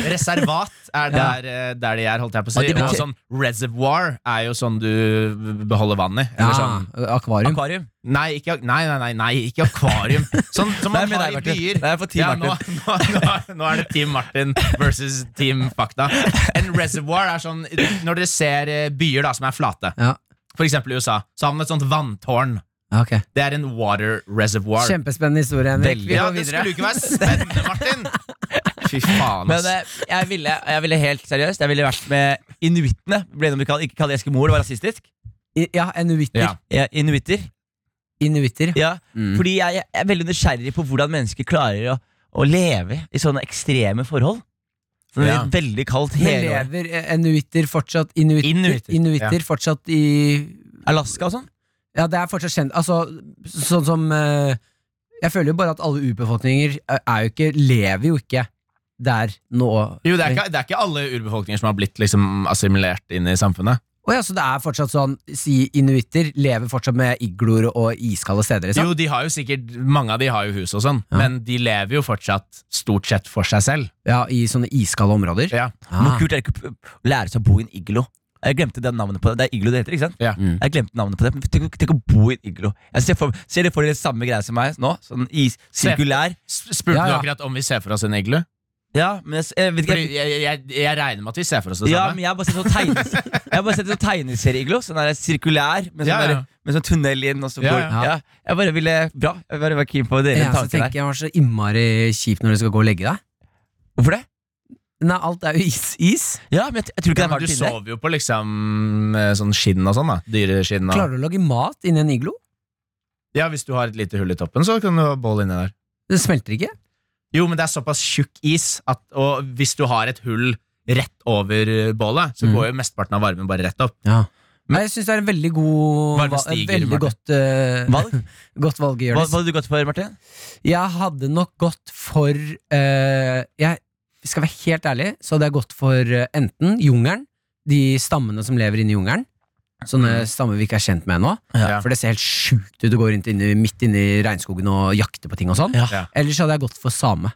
Reservat er
Ja.
der, eh, der de er, holdt jeg på å
Og
si.
det
Og
betyr-
sånn reservoir er jo sånn du beholder vann i. Eller sånn
Ja, akvarium.
Akvarium.
Nei, ikke, nei, nei, nei, nei, ikke akvarium. Sånn som man
med
har
deg,
i
Martin.
byer.
Det er for Team
Ja, nå,
Martin.
nå, nå, nå er det Team Martin versus Team Fakta. En reservoir er sånn Når dere ser eh, byer da som er flate,
Ja.
for eksempel i USA, så har man et sånt vanntårn.
Ja, ok.
Det er en water reservoir.
Kjempespennende historie, Henrik.
Veldig.
Vi
Ja,
går
det
videre.
skulle jo ikke være spennende, Martin!
Fy faen,
Men
ass.
eh, jeg ville, jeg ville helt seriøst Jeg ville vært med inuittene. Ble det om vi kan, ikke kaller eskimoer, det var rasistisk.
I, ja, inuitter.
Ja.
Ja, Inuitter.
Inuitter.
Ja.
Mm.
Fordi jeg, jeg er veldig nysgjerrig på hvordan mennesker klarer å, å leve i sånne ekstreme forhold. Sånn
Ja.
Veldig kaldt
Men
hele året.
lever eh, inuitter fortsatt Inuitter,
Inuitter,
inuitter, fortsatt i
Alaska og sånn.
Ja, det er fortsatt kjent Altså, sånn som eh, Jeg føler jo bare at alle urbefolkninger er- er jo ikke Lever jo ikke der nå
Jo, det er, ikke, det er ikke alle urbefolkninger som har blitt liksom, assimilert inn i samfunnet.
Å ja, så det er fortsatt sånn Si inuitter lever fortsatt med igloer og iskalde steder liksom.
Jo, de har jo sikkert, Mange av de har jo hus og sånn,
Ja.
men de lever jo fortsatt stort sett for seg selv.
Ja, i sånne iskalde områder
Ja.
Hvor
ah.
kult er det ikke å lære seg å bo i en iglo? Jeg glemte det navnet på det. Det er iglo det heter, ikke sant?
Ja.
Mm.
Jeg glemte navnet på det, men tenk, å- tenk å bo i en iglo. Jeg ser for, ser dere for dere samme greie som meg nå? Sånn is,
Se.
sirkulær.
S- Spurte
Ja,
du
ja.
akkurat om vi ser for oss en iglu?
Ja, men jeg, s- jeg vet ikke
Fordi jeg, jeg, jeg regner med at vi ser for oss det
Ja, men
samme.
jeg har bare sett sånn tegnes Jeg har bare sett sånn tegneserieiglo. Sånn der sirkulær med sånn,
Ja, ja.
der- med sånn tunnel inn. Og så
Ja,
går,
ja.
ja, Jeg bare ville Bra. Jeg bare var keen på dere
Ja, så
tanker
tenker
der.
jeg var så immari kjipt når du skal gå og legge deg
Hvorfor det?
Nei, alt er jo is, is.
Ja, men jeg, jeg tror ikke
Ja,
det er
men
varmt
du
inne.
sover jo på liksom eh, sånn skinn og sånn, da. Dyreskinn og
Klarer du å lage mat inni en iglo?
Ja, hvis du har et lite hull i toppen, så kan du ha bål inni der.
Det smelter ikke
Jo, men det er såpass tjukk is at og hvis du har et hull rett over eh, bålet, så
Mm.
går jo mesteparten av varmen bare rett opp.
Nei, jeg syns det er en veldig god
Varmen
va-
stiger,
veldig
Martin.
godt, eh,
Valg?
godt valg,
Hva, hva
Jonis.
hadde du gått for, Martin?
Jeg hadde nok gått for eh, Jeg skal være helt ærlig, så hadde jeg gått for eh, enten jungelen, de stammene som lever inni jungelen. Sånne stammer vi ikke er kjent med ennå.
Ja.
For det ser helt sjukt ut. Du går rundt inni, midt inni regnskogen og jakter på ting og sånn.
Ja.
Ja.
Ellers hadde jeg gått for same.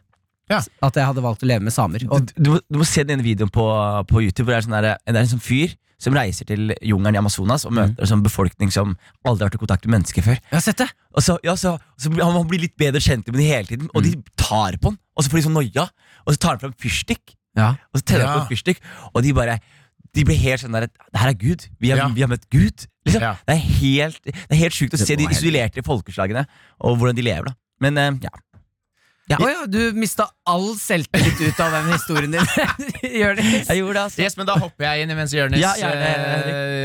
Ja.
At jeg hadde valgt å leve med samer.
Du,
Og
du, må- du må se den ene videoen på, på YouTube. Hvor det, er sånn der, det er en sånn fyr som reiser til jungelen i Amazonas og
Mm.
møter en sånn befolkning som aldri har vært i kontakt med mennesker før.
jeg har sett det!
Og så, ja, så, så blir- Han blir litt bedre kjent med dem hele tiden, og
Mm.
de tar på han. Og så får de sånn noia, og så tar han fram fyrstikk.
Ja.
Og så tenner
Ja.
han på en fyrstikk, og de bare De blir helt sånn der Det her er Gud. Vi har,
Ja.
vi har møtt Gud. Liksom.
Ja.
Det er helt, det er helt sjukt å
Det
se de
var helt-
isolerte folkeslagene og hvordan de lever. da Men eh, ja.
Å ja, du mista all selvtillit ut av den historien din, Jonis.
Jeg gjorde det, altså.
Yes, men Da hopper jeg inn mens Jonis
Ja, gjerne,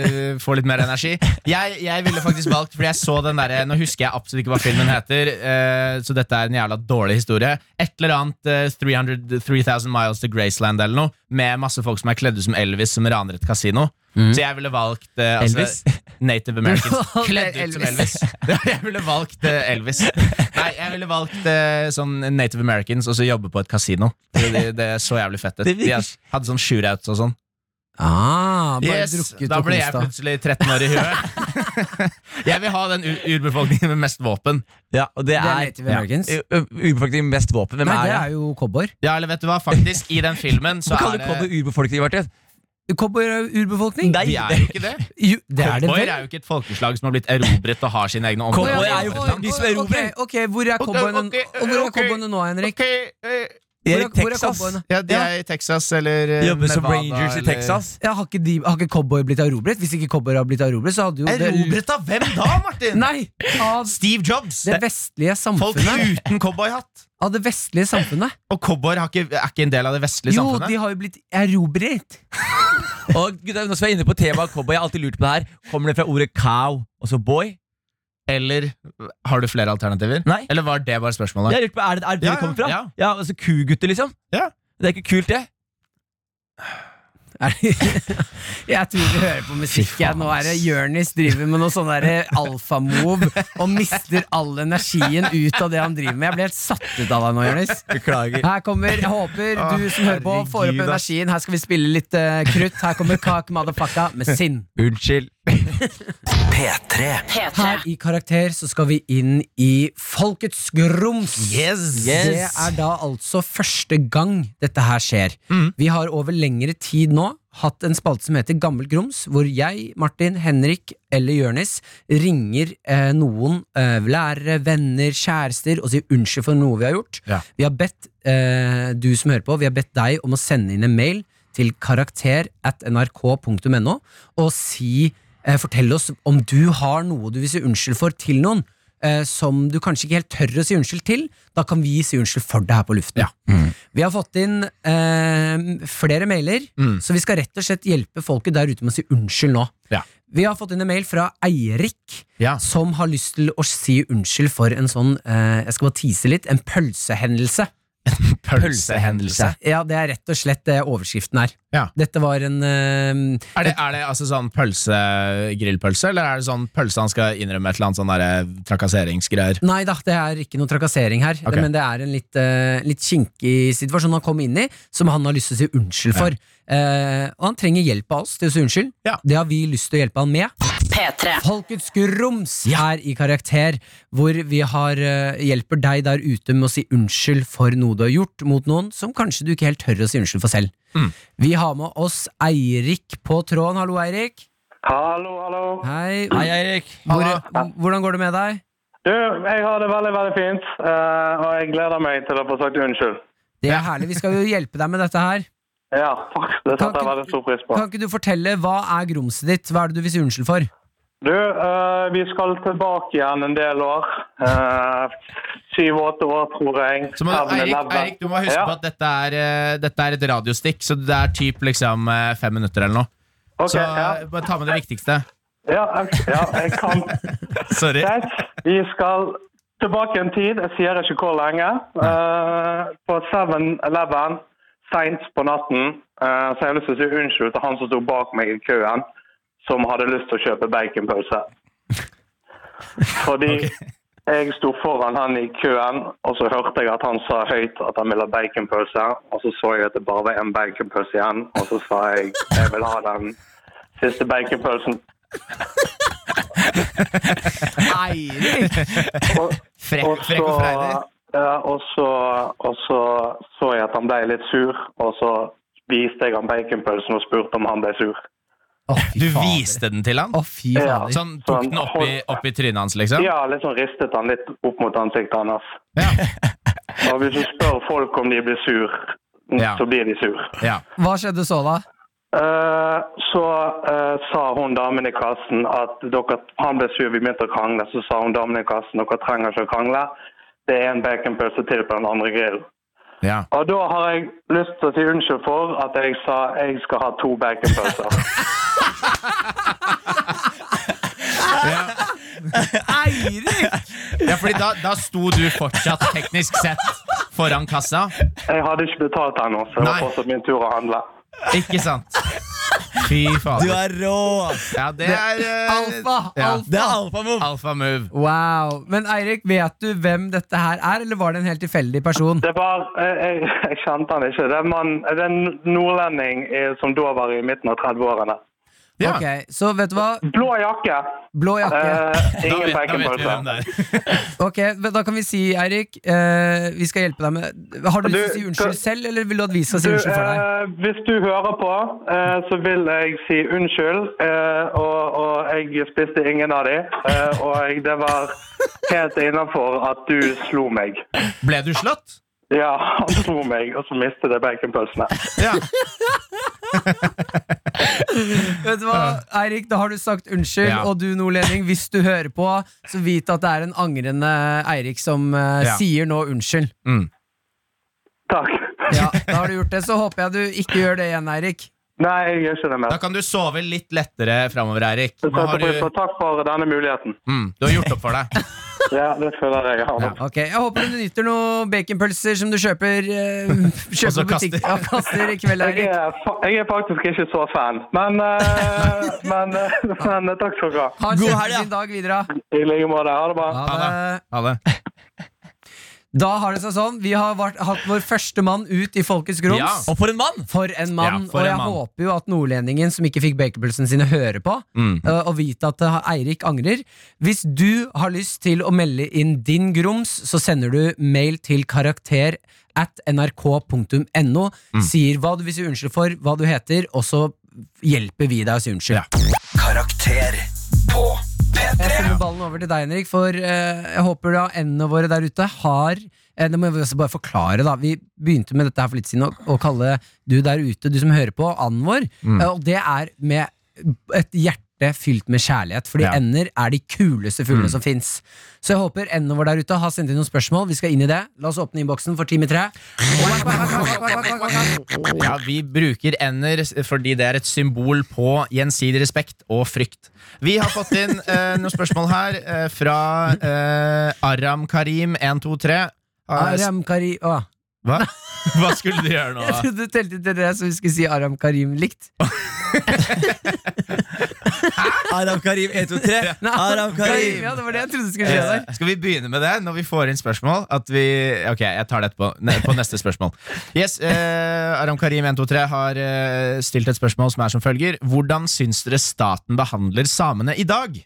eh, får litt mer energi. Jeg, jeg ville faktisk valgt, fordi jeg så den derre Nå husker jeg absolutt ikke hva filmen heter, eh, så dette er en jævla dårlig historie. Et eller annet eh, 300, 3000 Miles to Graceland eller noe, med masse folk som er kledd ut som Elvis, som raner et kasino. Så jeg ville valgt eh, altså,
Mm. Elvis?
Native Americans.
Du valgte
Kledd ut som
Elvis.
Elvis. Ja, jeg ville valgt eh, Elvis. Nei, jeg ville valgt eh, sånn Native Americans og så jobbe på et kasino. Fordi Det, det er så jævlig fett ut.
Det
De
virker-
hadde sånn shootouts og sånn.
Ah, bare
Yes,
drukket
da
og
ble
kost
jeg
deg.
plutselig 13 år i huet. jeg vil ha den ur- urbefolkningen med mest våpen.
Ja, og
Det
det
er Native
er
Americans.
U- u- Urbefolkningen mest våpen. Hvem
Nei,
er
det
det?
er jo cowboy.
Ja, eller vet du hva, faktisk, i den filmen så
Hvorfor
er
kaller du
det
Cowboy urbefolkning, Martin?
Cowboy er jo urbefolkning.
Nei,
De er jo ikke det.
Jo, det er det
Cowboyer
vel.
er jo ikke et folkeslag som har blitt erobret og har sine egne
Cowboy
områder.
er jo de som
Ok,
erobrer.
Ok, hvor er cowboyene
ok,
og hvor er
ok.
cowboyene nå, Henrik?
De er
Hvor
i
er- hvor er
Texas.
cowboyene?
Ja, de er i Texas eller eh,
Jobber som
Nevada,
rangers i
eller-
Texas.
Ja, har, ikke de, har ikke cowboy blitt erobret? Hvis ikke cowboy har blitt erobret, så hadde jo
Erobret av hvem da,
det
Martin?
Nei! Av
Steve Jobs!
det vestlige
Folk
samfunnet.
uten cowboyhatt.
Av det vestlige samfunnet.
Og cowboyer har ikke, er ikke en del av det vestlige
Jo,
samfunnet.
de har jo blitt erobret.
Og gutta, nå som jeg er inne på temaet cowboy, jeg har alltid lurt på det her. Kommer det fra ordet cow, altså boy?
Eller har du flere alternativer?
Nei.
Eller var det bare spørsmålet?
Jeg har lurt på, Er det er det,
Ja, ja,
det kommer fra?
ja.
ja altså Kugutter, liksom?
Ja.
Det er ikke kult, det?
Er det- Jeg tror vi hører på musikk. Jeg. Nå er det Jonis driver med noe sånn derre alfamove og mister all energien ut av det han driver med. Jeg ble helt satt ut av deg nå, Jonis.
Beklager.
Her kommer, jeg håper du som hører på, får opp
Ah, Herregud, ass.
energien. Her skal vi spille litt eh, krutt. Her kommer Kak Madafaka med Sinn.
Unnskyld.
P3.
Her i Karakter så skal vi inn i Folkets grums.
Yes.
Det er da altså første gang dette her skjer.
Mm.
Vi har over lengre tid nå hatt en spalte som heter Gammel grums, hvor jeg, Martin, Henrik eller Jørnis ringer eh, noen eh, lærere, venner, kjærester og sier unnskyld for noe vi har gjort.
Ja.
Vi har bedt eh, du som hører på, vi har bedt deg om å sende inn en mail til karakter at nrk.no og si eh, Fortell oss om du har noe du vil si unnskyld for til noen eh, som du kanskje ikke helt tør å si unnskyld til. Da kan vi si unnskyld for deg her på luften. Vi har fått inn eh, flere mailer,
Mm.
så vi skal rett og slett hjelpe folket der ute med å si unnskyld nå.
Ja.
Vi har fått inn en mail fra Eirik,
Ja.
som har lyst til å si unnskyld for en sånn, eh, jeg skal bare tease litt, en pølsehendelse.
Pølsehendelse.
Ja, det er rett og slett det overskriften her.
Ja.
Dette var en eh,
Er det, er det altså sånn pølse, grillpølse, eller er det sånn pølse han skal innrømme et eller annet sånn der trakasseringsgreier?
Nei da, det er ikke noe trakassering her.
Ok.
Men det er en litt, eh, litt kinkig situasjon han kom inn i, som han har lyst til å si unnskyld for. Eh, og han trenger hjelp av oss til å si unnskyld.
Ja.
Det har vi lyst til å hjelpe han med.
P3.
Folkets Grums er i karakter, hvor vi har, eh, hjelper deg der ute med å si unnskyld for noe du har gjort mot noen som kanskje du ikke helt tør å si unnskyld for selv.
Mm.
Vi har med oss Eirik på tråden. Hallo, Eirik.
Hallo, hallo.
Hei.
Hei, Eirik.
Hvor, hvordan går det med deg?
Du, jeg har det veldig, veldig fint. eh, og jeg gleder meg til å få sagt unnskyld.
Det er herlig. Vi skal jo hjelpe deg med dette her.
Ja, fuck, det
Kan
setter jeg
ikke-
veldig stor pris på.
Kan ikke du fortelle, hva er grumset ditt? Hva er det du vil si unnskyld for?
Du, eh, vi skal tilbake igjen en del år. Syv-åtte år, tror jeg.
Så må, Eirik,
7-11.
Eirik, du må huske
Ja,
på at dette er, eh, dette er et radiostikk, så det er typ liksom eh, fem minutter eller noe.
ok,
Så
ja.
eh, bare ta med det viktigste.
Ja, jeg- ja, jeg kan.
Sorry.
Greit, vi skal tilbake en tid. Jeg sier ikke hvor lenge. Eh, på 7-Eleven, seint på natten, eh, så jeg har lyst til å si unnskyld til han som sto bak meg i køen, som hadde lyst til å kjøpe baconpølse. Fordi jeg sto foran han i køen, og så hørte jeg at han sa høyt at han ville ha baconpølse. Og så så jeg at det bare var en baconpølse igjen, og så sa jeg jeg vil ha den siste baconpølsen.
Eirik!
Og,
Frekk
Og
frekk og freidig.
så- Ja, og så, og så så jeg at han ble litt sur, og så viste jeg han baconpølsen og spurte om han ble sur.
Å,
Du viste den til han?
Å, fy
Ja.
fader.
Sånn tok den opp i, opp i trynet hans, liksom?
Ja, liksom ristet han litt opp mot ansiktet hans.
Ja.
Og hvis du spør folk om de blir sur,
Ja.
så blir de sur.
Ja.
Hva skjedde så, da?
Eh, så eh, sa hun damen i kassen at dere, han ble sur, vi begynte å krangle. Så sa hun damen i kassen dere trenger ikke å krangle. Det er en baconpølse til på den andre grillen.
ja.
Og da har jeg lyst til å si unnskyld for at jeg sa jeg skal ha to baconpølser.
Eirik!
ja fordi da, da sto du fortsatt teknisk sett foran kassa.
Jeg hadde ikke betalt ennå, så det var
Nei.
fortsatt min tur å handle.
Ikke sant? Fy
Du
fader.
er rå!
Ja, det er eh,
Alfa!
ja.
Det
Alfa!
er alfamove.
Alfa move.
Wow. Men Eirik, vet du hvem dette her er, eller var det en helt tilfeldig person?
Det var, jeg, jeg, jeg kjente han ikke. Det er, en mann, det er en nordlending eh, som da var i midten av 30-årene.
Ja.
Ok, Så vet du hva?
Blå jakke.
Blå jakke.
Eh,
Da
ingen
vet, da vet vi
baconpølse.
hvem det er.
Ok, men Da kan vi si, Eirik, eh, vi skal hjelpe deg med Har du lyst til å si
Du,
unnskyld
kan-
selv, eller vil du at vi skal si
Du,
unnskyld for deg?
eh, hvis du hører på, eh, så vil jeg si unnskyld. Eh, og, og jeg spiste ingen av de. Eh, og jeg, det var helt innafor at du slo meg.
Ble du slått?
Ja, han slo meg, og så mistet jeg baconpølsene.
Ja.
Vet du hva, Eirik, da har du sagt unnskyld,
Ja.
og du nordlending, hvis du hører på, så vit at det er en angrende Eirik som eh,
Ja.
sier nå unnskyld.
Takk.
Ja, da har du gjort det, så håper jeg du ikke gjør det igjen, Eirik.
Nei, jeg gjør ikke det
Da
mer.
kan du sove litt lettere framover, Eirik.
Jeg
Nå
setter
har du,
pris på- Takk for denne muligheten.
mm, du har gjort opp for deg.
Ja, det føler jeg jeg har nå.
Ok, Jeg håper du nyter noen baconpølser som du kjøper, eh, kjøper
så
på butikk-
kaster.
Ja, kaster i kveld,
Jeg
Eirik.
er, fa- jeg er faktisk ikke så fan, men, eh, men, eh, men eh, takk skal du ha.
Ha en
God helg,
kjempefin dag videre.
I like måte. Ha det bra.
Ha
Ha
det.
Ha det.
Da har det seg sånn. Vi har vært, hatt vår første mann ut i Folkets grums.
Ja.
Og for en mann!
For en mann.
Ja, for
og
en
jeg
mann.
håper jo at nordlendingen som ikke fikk baconpølsene sine, hører på.
Mm.
eh, Og vite at eh, Eirik angrer. Hvis du har lyst til å melde inn din grums, så sender du mail til karakter at nrk.no.
Mm.
Sier hva du vil si unnskyld for, hva du heter, og så hjelper vi deg å si unnskyld.
Karakter på P3.
Jeg sender ballen over til deg, Henrik, for eh, jeg håper da endene våre der ute har eh, det må jeg også bare forklare da Vi begynte med dette her for litt siden å, å kalle du der ute, du som hører på, anden vår. Eh, og det er med et hjerte hjerte fylt med kjærlighet. Fordi
Ja.
ender er de kuleste fuglene som fins. Så jeg håper enden vår der ute har sendt inn noen spørsmål. Vi skal inn i det. La oss åpne innboksen for Time 3.
Ja, Vi bruker ender s- fordi det er et symbol på gjensidig respekt og frykt. Vi har fått inn eh, noen spørsmål her eh, fra eh, Aram Karim 123.
Aram Karim Å,
Ah, Hva? Hva skulle du gjøre nå?
jeg trodde du telte til det, så vi skulle si Aram Karim likt.
Aram Karim 123.
Nei,
Aram Karim.
Ja, det var det jeg trodde skulle skje der.
Eh, Skal vi begynne med det når vi får inn spørsmål? At vi, ok, jeg tar det etterpå. Ne, på neste spørsmål. Yes, eh, Aram Karim 123 har eh, stilt et spørsmål som er som følger. Hvordan syns dere staten behandler samene i dag?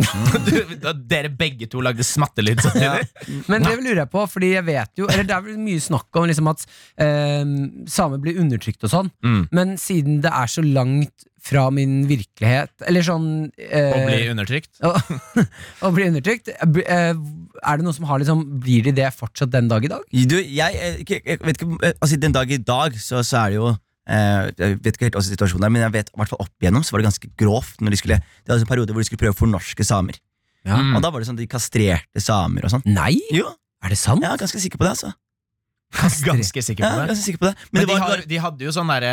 du, da, dere begge to lagde smattelyd samtidig.
Men det lurer jeg på, fordi jeg vet jo Eller det er vel mye snakk om liksom at eh, samer blir undertrykt og sånn,
Mm.
men siden det er så langt fra min virkelighet Eller sånn eh,
Å bli undertrykt.
å, å bli undertrykt. eh, bli- eh, Er det noen som har liksom Blir de det fortsatt den dag i dag?
Du, jeg, eh, ikke- jeg vet ikke eh, Altså, den dag i dag så, så er det jo eh, Jeg vet ikke helt hva situasjonen er, men jeg vet i hvert fall opp igjennom så var det ganske grovt når de skulle Det var en periode hvor de skulle prøve å fornorske samer.
Mm.
Og da var det sånn de kastrerte samer og sånn.
Nei?
Jo,
Er det sant?
jeg er ganske sikker på det, altså.
Ganske sikker
Ja,
på
jeg er
det.
ganske sikker på det. Men,
Men
det
de,
var,
har, de hadde jo sånn derre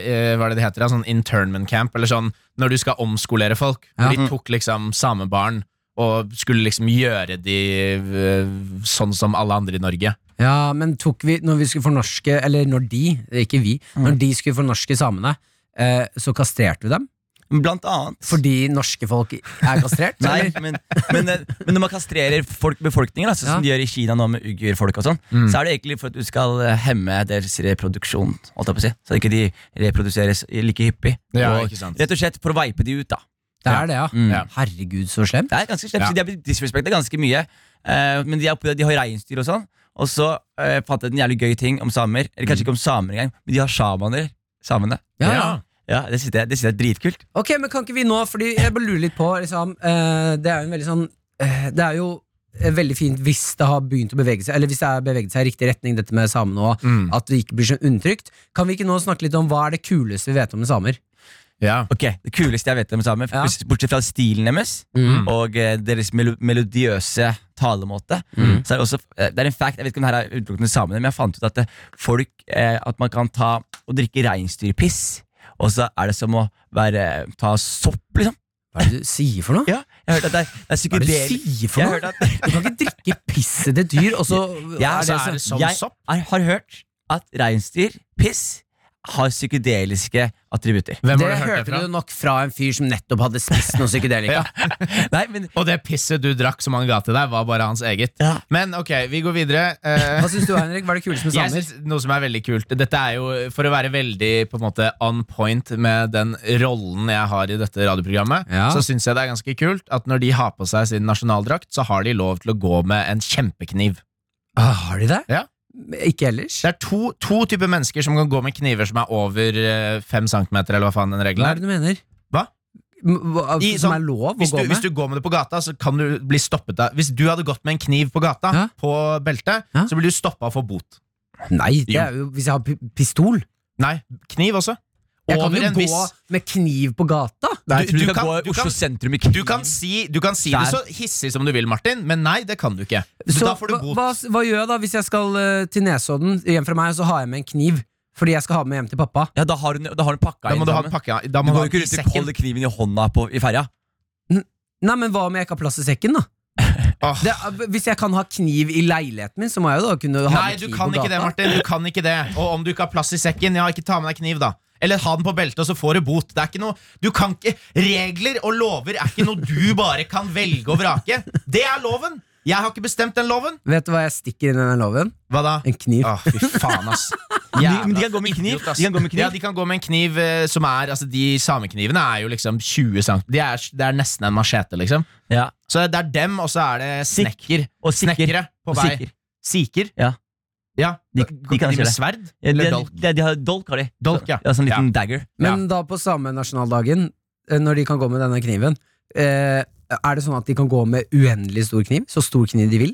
eh, Hva er det det heter? da? Sånn internment camp, eller sånn når du skal omskolere folk.
Ja.
Hvor de tok liksom samebarn og skulle liksom gjøre de eh, sånn som alle andre i Norge.
Ja, men tok vi Når vi skulle fornorske Eller når de, ikke vi, når de skulle fornorske samene, eh, så kastrerte vi dem?
blant annet
Fordi norske folk er kastrert?
Nei,
eller?
men, men, eh, men når man kastrerer folk, befolkningen, altså, som de gjør i Kina nå med uigurfolk og sånn,
Mm.
så er det egentlig for at du skal eh, hemme deres reproduksjon, holdt jeg på å si. Så ikke de reproduseres like hyppig.
Ja,
og,
ikke sant.
Rett og slett for å veipe de ut, da.
Det er det, ja.
Mm.
Ja.
Herregud, så slemt.
Det er ganske slemt,
Ja.
så De har blitt disrespekta ganske mye. eh, men de, er, oppe- de har reinsdyr og sånn. Og så eh, fant jeg ut en jævlig gøy ting om samer. Eller
Mm.
kanskje ikke om samer engang, men de har sjamaner. Samene.
Ja, ja.
Ja, Det synes jeg, det synes jeg er dritkult.
Ok, men kan ikke vi nå, fordi jeg bare lurer litt på liksom, eh, Det er jo en veldig sånn eh, Det er jo eh, veldig fint hvis det har begynt å bevege seg Eller hvis det har beveget seg i riktig retning Dette med samene og
Mm.
at det ikke blir så undertrykt Kan vi ikke nå snakke litt om hva er det kuleste vi vet om med samer?
Ja.
Ok, Det kuleste jeg vet om samer,
Ja.
bortsett fra stilen deres og eh, deres melo melodiøse talemåte Så er det også eh, Det er en fact, jeg vet ikke om det her er utelukkende samene, men jeg fant ut at eh, folk eh, At man kan ta og drikke reinsdyrpiss, og så er det som å være, eh, ta sopp, liksom.
Hva er det du sier for noe?
Ja, jeg hørte at det er, det er
Hva er det
psykedel-
du sier
Jeg
for
hørte
noe?
at
Du kan ikke drikke pisset til dyr Og så
Ja,
er
så
det
er
så
det som
jeg
sopp?
er, har hørt at reinsdyrpiss har psykedeliske attributter.
Hvem
Det
har du hørt det
hørte
fra?
du nok fra en fyr som nettopp hadde spist noe psykedelika
Ja.
Nei, men
Og det pisset du drakk som han ga til deg, var bare hans eget.
Ja.
Men ok, vi går videre. Eh,
Hva synes du, Henrik? Hva er det kuleste med
jeg
samer?
synes noe som er veldig kult Dette er jo for å være veldig på en måte on point med den rollen jeg har i dette radioprogrammet,
Ja.
så syns jeg det er ganske kult at når de har på seg sin nasjonaldrakt, så har de lov til å gå med en kjempekniv.
Ah, har de det?
Ja.
Ikke ellers?
Det er to, to typer mennesker som kan gå med kniver som er over eh, fem centimeter, eller hva faen den regelen er.
Hva er det du mener?
Hva?
M- hva-
I
som
sånn-
er lov å
Hvis du,
gå
hvis
med?
du går med det på gata, så kan du bli stoppet av Hvis du hadde gått med en kniv på gata,
Ja.
på beltet,
Ja.
så blir du stoppa og får bot.
Nei, det
Jo.
er jo hvis jeg har pi- pistol.
Nei, kniv også.
Jeg kan
Over
jo
en
gå
viss-
med kniv på gata.
Nei, jeg
Du-
tror du,
du
kan,
kan-
gå i
du
Oslo
kan-
sentrum i kniv.
Du kan si, du kan si
Der.
det så hissig som du vil, Martin, men nei, det kan du ikke. Så, da får du
hva-
bot.
Hva, hva gjør jeg da hvis jeg skal eh, til Nesodden hjem fra meg, og så har jeg med en kniv? Fordi jeg skal ha med hjem til pappa.
Ja, da har hun, da har hun pakka
da
inn
må du ha
sammen.
pakka da
Du
må
går jo
du ha i
ikke rundt og
sekken.
holder kniven i hånda på, i ferja.
Nei, men hva om jeg ikke har plass i sekken, da?
Åh.
Det, er- hvis jeg kan ha kniv i leiligheten min, så må jeg jo da kunne ha
Nei,
med
du
kniv
kan
på
ikke
gata.
det, Martin. Du kan ikke det. Og om du ikke har plass i sekken, ja, ikke ta med deg kniv, da. Eller ha den på beltet, og så får du bot. Det er ikke noe Du kan ikke Regler og lover er ikke noe du bare kan velge og vrake. Det er loven! Jeg har ikke bestemt den loven.
Vet du hva jeg stikker inn i den loven?
Hva da?
En kniv.
Ah,
Åh, fy faen, ass.
de- men de kan gå med kniv.
Idiot, ass.
De kan gå med kniv.
Ja, de kan gå med en kniv eh, som er altså, De sameknivene er jo liksom 20 cm. De er, det er nesten en machete, liksom.
Ja.
Så det er dem, og så er det snekker.
Og sikker.
Snekkere på
Og
vei.
sikker.
Siker?
Ja.
ja.
De- de
Går ikke
kan
de med
ikke det.
sverd?
Ja, de,
Eller
har-
dolk?
de, de har dolk, har de.
Dolk, ja.
ja Sånn liten dagger.
Men da på samme nasjonaldagen, eh, når de kan gå med denne kniven, eh, er det sånn at de kan gå med uendelig stor kniv? Så stor kniv de vil?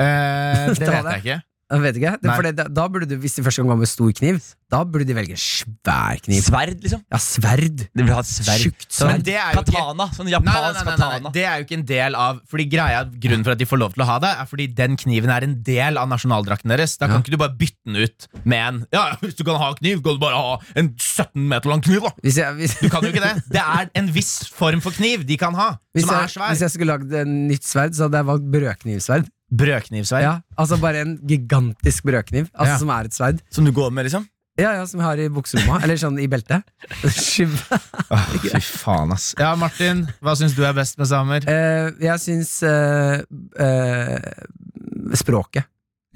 Eh, det
Ta
vet
det.
jeg ikke.
Jeg vet ikke. Det,
Nei.
for det, da burde du, hvis de første gang går med stor kniv, da burde de velge en svær kniv.
Sverd, liksom.
Ja, sverd.
De vil ha et sverd.
Tjukt
Sånn
sverd. Det er jo ikke-
katana. Sånn
Nei, nei,
japansk
nei, nei, nei,
katana.
Det er jo ikke en del av Fordi greia, Grunnen for at de får lov til å ha det, er fordi den kniven er en del av nasjonaldrakten deres. Da kan
Ja.
ikke du bare bytte den ut med en Ja, ja, hvis du kan ha kniv, kan du bare ha en 17 meter lang kniv, da!
Hvis jeg, hvis,
Du kan jo ikke det. Det er en viss form for kniv de kan ha,
hvis
som
jeg,
er svær.
hvis jeg skulle lagd en nytt sverd, så hadde jeg valgt brødknivsverd.
Brødknivsverd.
Ja, altså bare en gigantisk brødkniv, altså
Ja.
som er et sverd.
Som du går med, liksom?
Ja, ja, som jeg har i bukseromma, eller sånn i beltet. Svær.
Åh, fy faen, ass. Ja, Martin, hva syns du er best med samer?
Eh, jeg syns eh, eh, språket.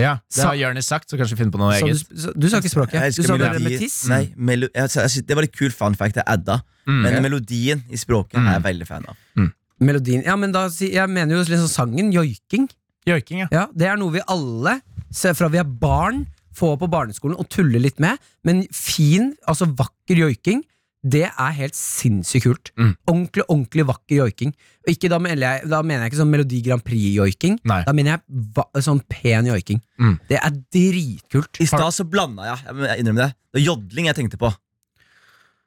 Ja, Det
Sa-
har Jonis sagt, så kanskje finne på noe
Sa du,
eget.
sp- så- du sa ikke
Jeg
språket. Du
elsker
sa det
melodi-
med tiss.
Nei, melo jeg, jeg, synes det var litt kul fun fact jeg adda.
Mm.
Men melodien i språket
Mm.
er jeg veldig fan av.
Melodien. Ja, men da, si- jeg mener jo liksom sangen, joiking.
Joiking, ja.
Ja, Det er noe vi alle, se- fra vi er barn, får på barneskolen og tuller litt med. Men fin, altså vakker joiking, det er helt sinnssykt kult.
Mm.
Ordentlig ordentlig vakker joiking. Og Ikke, da, mener jeg, da mener jeg ikke sånn Melodi Grand Prix-joiking.
Nei.
Da mener jeg va sånn pen joiking.
Mm.
Det er dritkult.
I stad så blanda jeg. Jeg må- Jeg innrømmer det. Det var jodling jeg tenkte på.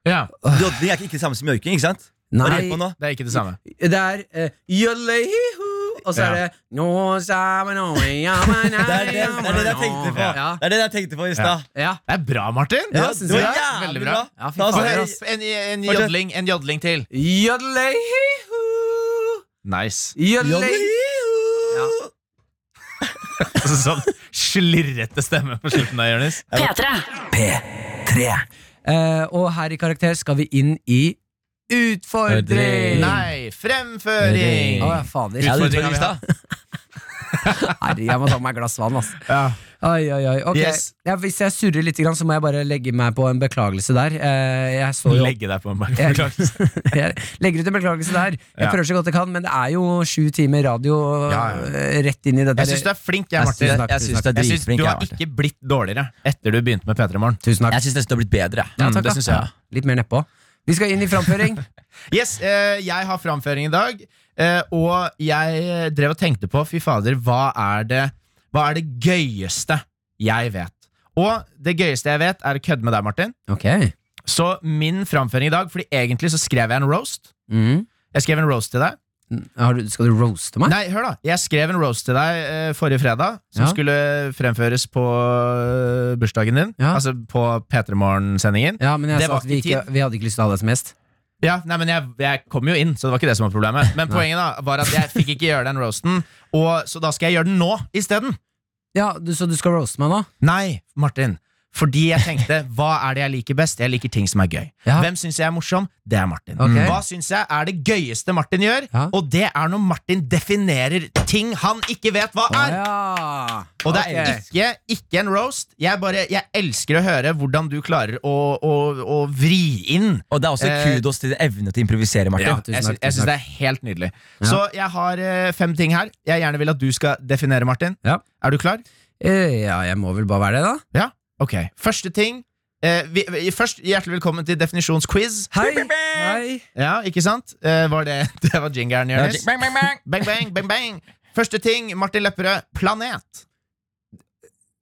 ja.
Jodling er ikke- ikke det samme som joiking, ikke sant? Hva er det på
Nei,
nå?
Det er ikke det samme.
det er eh, jølle-hi-ho, Og så er
Ja.
det Nå sammen, nå, ja, men,
Det er det, det, er det jeg tenkte på
Ja,
Det er det jeg tenkte på i stad.
ja.
Det er bra, Martin!
Ja,
det
synes
var
jeg.
jævlig
Veldig
bra.
bra.
Ja, fy
La oss
Altså,
faen, ja.
høre.
hør- en, en
Fortsett.
jodling, en jodling til.
Jølle-hi-ho.
Nice.
Jølle-hi-ho.
Sånn slirrete stemme på slutten der, Jonis.
P3.
Eh, og her i Karakter skal vi inn i utfordring!
Nei, fremføring!
Å, ja, fader.
Ja, det
Utfordring
var i
har
stad.
Herre, jeg må ta meg et glass vann, ass.
Ja.
Oi, oi, oi. Ok.
Yes.
Ja, hvis jeg surrer litt, grann, så må jeg bare legge meg på en beklagelse der. Eh, jeg står jo
Legge deg på en bank.
Jeg-
Beklager.
jeg legger ut en beklagelse der. Jeg
Ja.
prøver så godt jeg kan, men det er jo sju timer radio
Ja, ja.
eh, rett inn i det der.
Jeg syns du er flink, jeg,
Jeg
Martin.
synes-
Jeg syns det er
Jeg synes
dritflink.
Du
jeg,
har
Martin.
ikke blitt dårligere etter du begynte med P3 Morgen.
Tusen takk.
Altså,
Mm,
Jeg syns nesten det har blitt bedre.
Ja, takk,
det
da.
synes jeg.
Litt mer nedpå. Vi skal inn i framføring.
Yes, eh, jeg har framføring i dag, eh, og jeg drev og tenkte på Fy fader, hva er det, hva er det gøyeste jeg vet? Og det gøyeste jeg vet, er å kødde med deg, Martin.
Ok.
Så min framføring i dag Fordi egentlig så skrev jeg en roast.
Mm.
Jeg skrev en roast til deg.
Har du, skal du roaste meg?
Nei, hør da Jeg skrev en roast til deg eh, forrige fredag, som
Ja.
skulle fremføres på eh, bursdagen din.
Ja.
Altså på P3 Morgen-sendingen.
Ja, men jeg
Det
sa
var
at vi,
ikke
ikke, vi hadde ikke lyst til å ha deg som gjest.
Ja, nei, men jeg, jeg kom jo inn, så det var ikke det som var problemet. Men poenget da var at jeg fikk ikke gjøre den roasten, og, så da skal jeg gjøre den nå isteden.
Ja, du, Så du skal roaste meg nå?
Nei, Martin. Fordi jeg tenkte hva er det jeg liker best? Jeg liker ting som er gøy.
Ja.
Hvem syns jeg er morsom? Det er Martin.
Ok.
Hva syns jeg er det gøyeste Martin gjør?
Ja.
Og det er når Martin definerer ting han ikke vet hva
Å,
er.
ja.
Og det
Ok.
er ikke, ikke en roast. Jeg, bare, jeg elsker å høre hvordan du klarer å, å, å vri inn
Og det er også
Eh,
kudos til din evne til å improvisere, Martin.
Ja,
tusen
jeg,
takk,
sy jeg
tusen
syns det er helt nydelig.
Ja.
Så jeg har eh, fem ting her jeg gjerne vil at du skal definere, Martin.
Ja.
Er du klar?
Eh, ja, jeg må vel bare være det, da.
Ok. Første ting eh, vi, vi, Først, hjertelig velkommen til definisjonsquiz.
Hei! Hei.
Ja, ikke sant? Eh, var det, det var jingeren,
Ja,
Jonis.
jing- bang, bang, bang.
Bang, bang, bang, bang. Første ting, Martin Lepperød. Planet.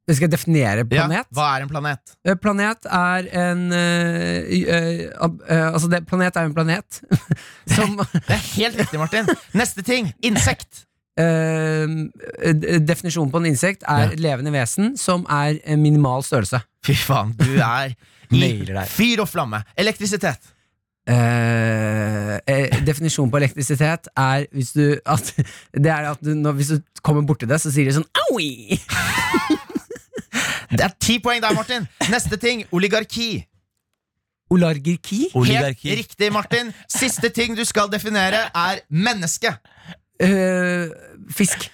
Vi skal definere planet.
Ja, hva er en planet?
Eh, Planet er en eh, eh, ab- eh, Altså, det, planet er en planet som
Det er helt riktig, Martin. Neste ting, insekt.
eh, d- Definisjonen på en insekt er et levende vesen som er en minimal størrelse.
Fy faen, du er
Nailer
i
deg.
fyr og flamme. Elektrisitet.
Eh, eh, definisjonen på elektrisitet er hvis du at, Det er at du, når, hvis du kommer borti det, så sier de sånn aui!
Det er ti poeng der, Martin. Neste ting, oligarki.
Olargerki?
Oligarki.
Helt riktig, Martin. Siste ting du skal definere, er menneske.
Eh, fisk.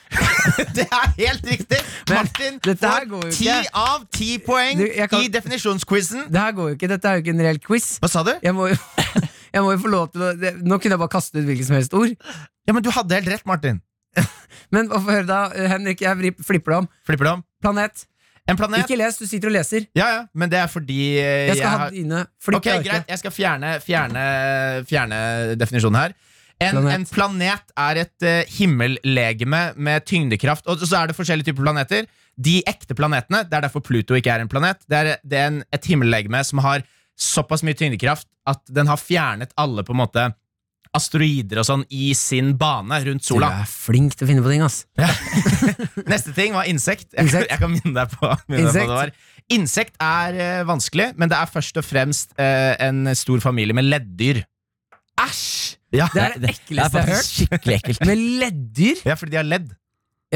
Det er helt riktig! Martin
dette her
får
går jo
ti
ikke.
av ti poeng
Du, jeg kan-
i definisjonsquizen.
Det her går jo ikke, dette er jo ikke en reell quiz.
Hva sa du?
Jeg må jo, jeg må jo få lov til å det, Nå kunne jeg bare kaste ut hvilket som helst ord.
Ja, men Du hadde helt rett, Martin.
Men hva får jeg høre da, eh, Henrik, jeg vri- flipper det om.
Flipper du om?
Planet.
En planet?
Ikke les, du sitter og leser.
Ja, ja, men det er fordi eh,
Jeg skal ha
har-
dine.
Ok,
Flipp okay,
Greit, jeg skal fjerne, fjerne, fjerne definisjonen her. En planet, eh, en
Planet.
planet er et uh, himmellegeme med tyngdekraft. Og så er det forskjellige typer planeter. de ekte planetene. Det er derfor Pluto ikke er en planet. Det er, det er en, et himmellegeme som har såpass mye tyngdekraft at den har fjernet alle på en måte asteroider og sånn i sin bane rundt
Du
sola.
er flink til å finne på ting, ass.
Neste ting var insekt. Jeg,
Insekt.
jeg kan minne deg på, minne deg på
Insekt.
det var. Insekt er eh, vanskelig, men det er først og fremst eh, en stor familie med leddyr.
Æsj!
Ja.
Det er det
Det er
ekleste jeg har hørt.
faktisk skikkelig ekkelt.
Med leddyr?
ja, fordi de har ledd.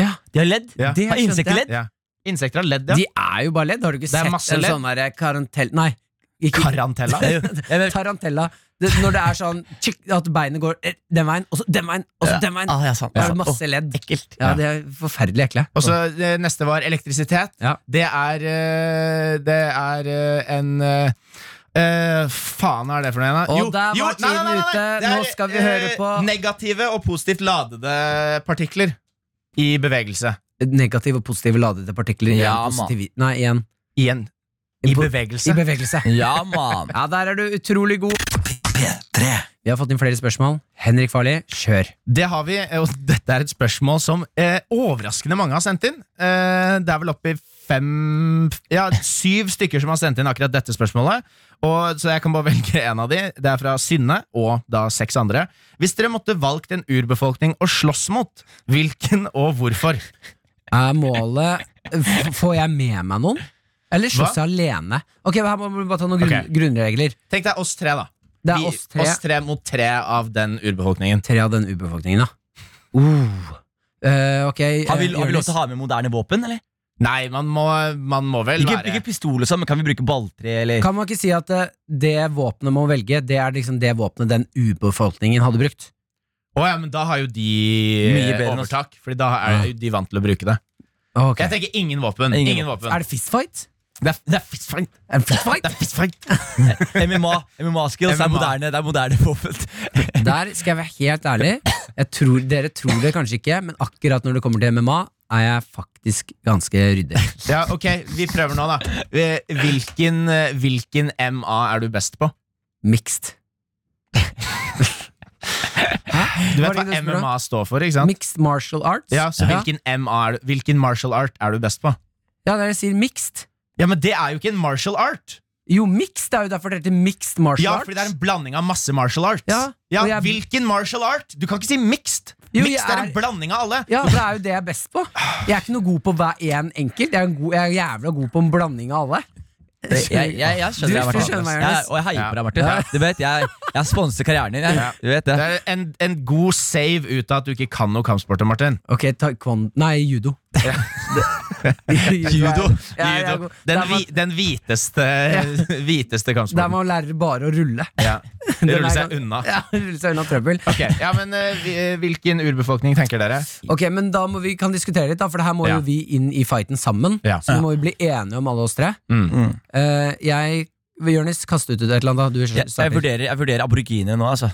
Ja,
De har ledd.
Ja.
det
Har
skjønte
insekter
jeg.
ledd?
Ja. Insekter har ledd, ja.
De er jo bare ledd. Har du ikke
Det er
sett en
masse ledd.
sånn derre karantell... Nei. Ikke
Karantella.
Det er jo- jeg vet-
tarantella. Det, når det er sånn tjikk, at beinet går eh, den veien, og så den veien, og så den veien.
Ah, ja, sant,
Da
ja,
er
sant.
det masse
Åh,
ledd.
ekkelt.
Ja, de er forferdelig ekle.
Og så eh, neste var elektrisitet.
Ja.
Det er eh, Det er eh, en eh, eh, faen er det for noe? da?
Og der var tiden ute.
det
Nå skal vi
eh,
høre på-
Negative og positivt ladede partikler i bevegelse.
Negative og positive ladede partikler. igjen,
Ja, man.
positivi- nei, igjen.
Igjen. I bevegelse.
I bevegelse.
Ja, mann.
Ja, der er du utrolig god. Vi har fått inn flere spørsmål. Henrik Farli, kjør.
Det har vi, eh, og dette er et spørsmål som eh, overraskende mange har sendt inn. Eh, det er vel oppi fem Ja, syv stykker som har sendt inn akkurat dette spørsmålet. Og, så jeg kan bare velge en av de. Det er fra Synne og da seks andre. Hvis dere måtte valgt en urbefolkning å slåss mot, hvilken og hvorfor?
Er målet f- Får jeg med meg noen? Eller slåss jeg alene? Ok, Her må vi bare ta noen grunn,
Ok.
grunnregler.
Tenk deg oss tre, da.
Det er
Vi-
oss tre.
oss tre mot tre av den urbefolkningen.
Tre av den urbefolkningen, da. Uh. Eh, ok
Har vi,
eh,
har vi lov
Jonis.
til å ha med moderne våpen, eller?
Nei, man må, man må vel
Ikke,
være
ikke pistol og sånn, men kan vi bruke balltre, eller?
Kan man ikke si at eh, det våpenet man må velge, det er liksom det våpenet den urbefolkningen hadde brukt?
Å ja, men da har jo de
Mye bedre enn oss.
overtak. Fordi da er jo de vant til å bruke det.
Ok.
Jeg tenker ingen våpen.
Ingen
Ingen, våpen.
Er det fistfight?
Det er, det er fistfight.
Er det fistfight?
Det er fistfight.
MMA, MMA skills er
MMA.
moderne, det er moderne våpen.
Der skal jeg være helt ærlig. Jeg tror, dere tror det kanskje ikke, men akkurat når det kommer til MMA, er jeg faktisk ganske ryddig.
Ja, ok, vi prøver nå, da. Eh, Hvilken, eh, hvilken MA er du best på?
Mixed.
Du vet
Var det
hva
det som er bra?
MMA står for, ikke sant?
Mixed martial arts.
Ja, så
ja.
hvilken, MA er du, hvilken martial art er du best på?
Ja, dere sier mixed.
Ja, men det er jo ikke en martial art!
Jo, mixed er jo derfor det heter mixed martial
Ja,
arts.
fordi det er en blanding av masse martial arts.
Ja, og jeg-
Hvilken martial art? Du kan ikke si mixed!
Jo, jeg
mixed er
er-
en blanding av alle.
Ja, for det er jo det jeg er best på. Jeg er ikke noe god på hver én enkelt. Jeg er, en god, jeg er jævla god på en blanding av alle.
Jeg, jeg, jeg, jeg
Du
skjønner deg, Martin.
skjønner meg,
Jeg,
Jonas.
og jeg heier
Ja.
på deg, Martin.
Ja.
Du vet, jeg, jeg sponser karrieren din. Jeg. Du vet det.
Det er en, en god save ut av at du ikke kan noe kampsport, Martin.
Ok, taekwondo Nei, judo. judo. er- Ja, jeg er
Judo.
god.
Den,
Der
vi,
man,
den hviteste, hviteste
der
kampsporten.
man lærer bare å rulle.
Ja.
Den
Rulle
er
seg
gans-
unna.
Ja, rulle seg unna trøbbel.
Ok, ja, men eh, vi- eh, Hvilken urbefolkning tenker dere?
Ok, men da må vi kan diskutere litt, da, for det her må
Ja.
jo vi inn i fighten sammen.
Ja.
Så vi må jo bli enige om alle oss tre. Eh, jeg Jonis, kast ut et eller annet. da. Du
Jeg, jeg,
starter.
vurderer, jeg vurderer aboriginer nå, altså.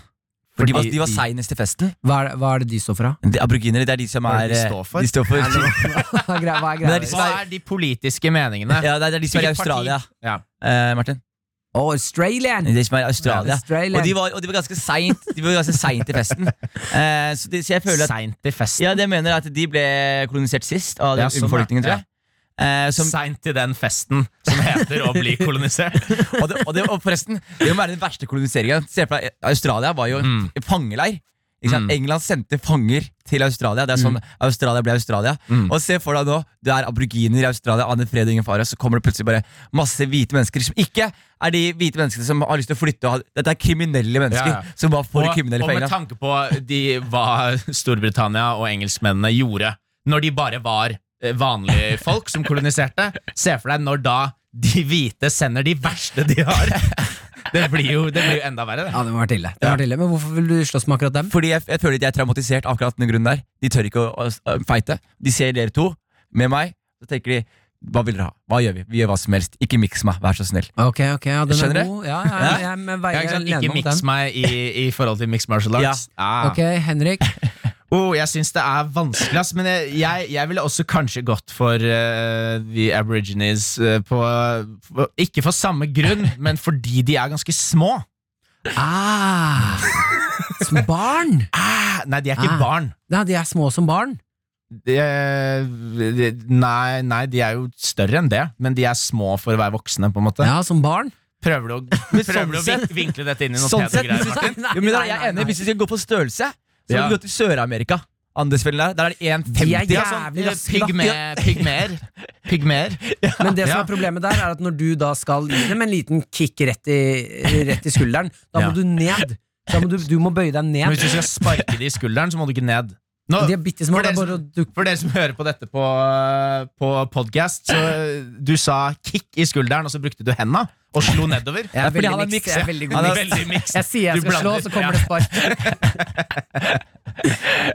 For de var, de var seinest i festen.
Hva er, det- hva er det de står for, da?
De, aboriginere, det er de som
Hva er
er
det de
eh,
står for?
De står for
Hva er greia? Hva er
Men det er
greia?
de som
Hva er de politiske meningene?
ja, det er- det er de som er i
Hvilket parti?
Australia,
Ja.
eh, Martin.
Å, Australian!
Det er De som er i Australia.
Australian.
Og de var, og de var ganske seint De var ganske seint i festen. Eh, så, de, så jeg føler at
Seint i festen.
Ja, det mener jeg at de ble kolonisert sist av den
Ja, sånn, ja.
urbefolkningen, tror jeg. Eh, som,
Seint i den festen som heter å bli kolonisert.
og, det, og, det, og forresten, det må være den verste koloniseringen. Se for deg, Australia var jo
Mm.
en fangeleir. Ikke sant?
Mm.
England sendte fanger til Australia. Det er sånn Australia ble Australia.
Mm.
Og se for deg nå, du er aboriginer i Australia, aner fred og ingen fare, så kommer det plutselig bare masse hvite mennesker som ikke er de hvite menneskene som har lyst til å flytte. Og ha, dette er kriminelle mennesker
Ja, ja.
som var for
og,
kriminelle
og
for
med
England.
tanke på de, hva Storbritannia og engelskmennene gjorde når de bare var eh, vanlige folk som koloniserte, se for deg når da de hvite sender de verste de har. Det blir jo, det blir jo enda verre, det.
Ja, det må være ille. Det må vært ille. Men hvorfor vil du slåss med akkurat dem?
Fordi jeg, jeg føler at jeg er traumatisert akkurat den grunnen der. De tør ikke å, å, å fighte. De ser dere to med meg, så tenker de hva vil dere ha? Hva gjør vi? Vi gjør hva som helst. Ikke miks meg, vær så snill.
Ok, ok, ja, den
Skjønner
er
du?
god. Ja, ja, ja, jeg, men, vei,
Ja, ikke
jeg
sant?
lener
Ikke
meg mot
miks
den.
meg i, i forhold til mixed martial arts. Ah.
Ok, Henrik.
Oh, jeg syns det er vanskelig, ass, men jeg, jeg, jeg ville også kanskje gått for eh, the aborigines eh, på, på Ikke for samme grunn, men fordi de er ganske små.
Ah, som barn!
Ah, nei, de er ikke
Ah.
barn.
Nei, de er små som barn.
det, det, nei, nei, de er jo større enn det, men de er små for å være voksne. på en måte
Ja, som barn?
Prøver du å, prøver du å vin- vinkle dette inn i noe
Sånn
pene
sett,
greier?
hvis du skal,
Martin?
Nei,
jo, men da,
nei,
jeg
nei,
er
nei.
enig, hvis du skal gå på størrelse, så
Ja.
må du gå til Sør-Amerika. Andesfellen der, der er det altså. 1,50.
De er
Ja, sånn,
jævlig raske, da.
pygme- Pygmeer. Pygmeer.
Men det som
Ja.
er problemet der, er at når du da skal gi dem en liten kick rett i, rett i skulderen, da
Ja.
må du ned. Da må du, du må bøye deg
Men
ned.
hvis du skal sparke det i skulderen, så må du ikke ned. Nå,
De er bitte små.
for
Det er
dere
bare å dukke
for dere som hører på dette på, på podcast, så eh, du sa kick i skulderen, og så brukte du henda og slo nedover.
Jeg er
fordi han er
veldig miks.
mix,
Jeg er
ja.
veldig
Han
god
er
miks.
veldig mix.
Jeg sier jeg
Du
skal slå,
blander.
så kommer det spark.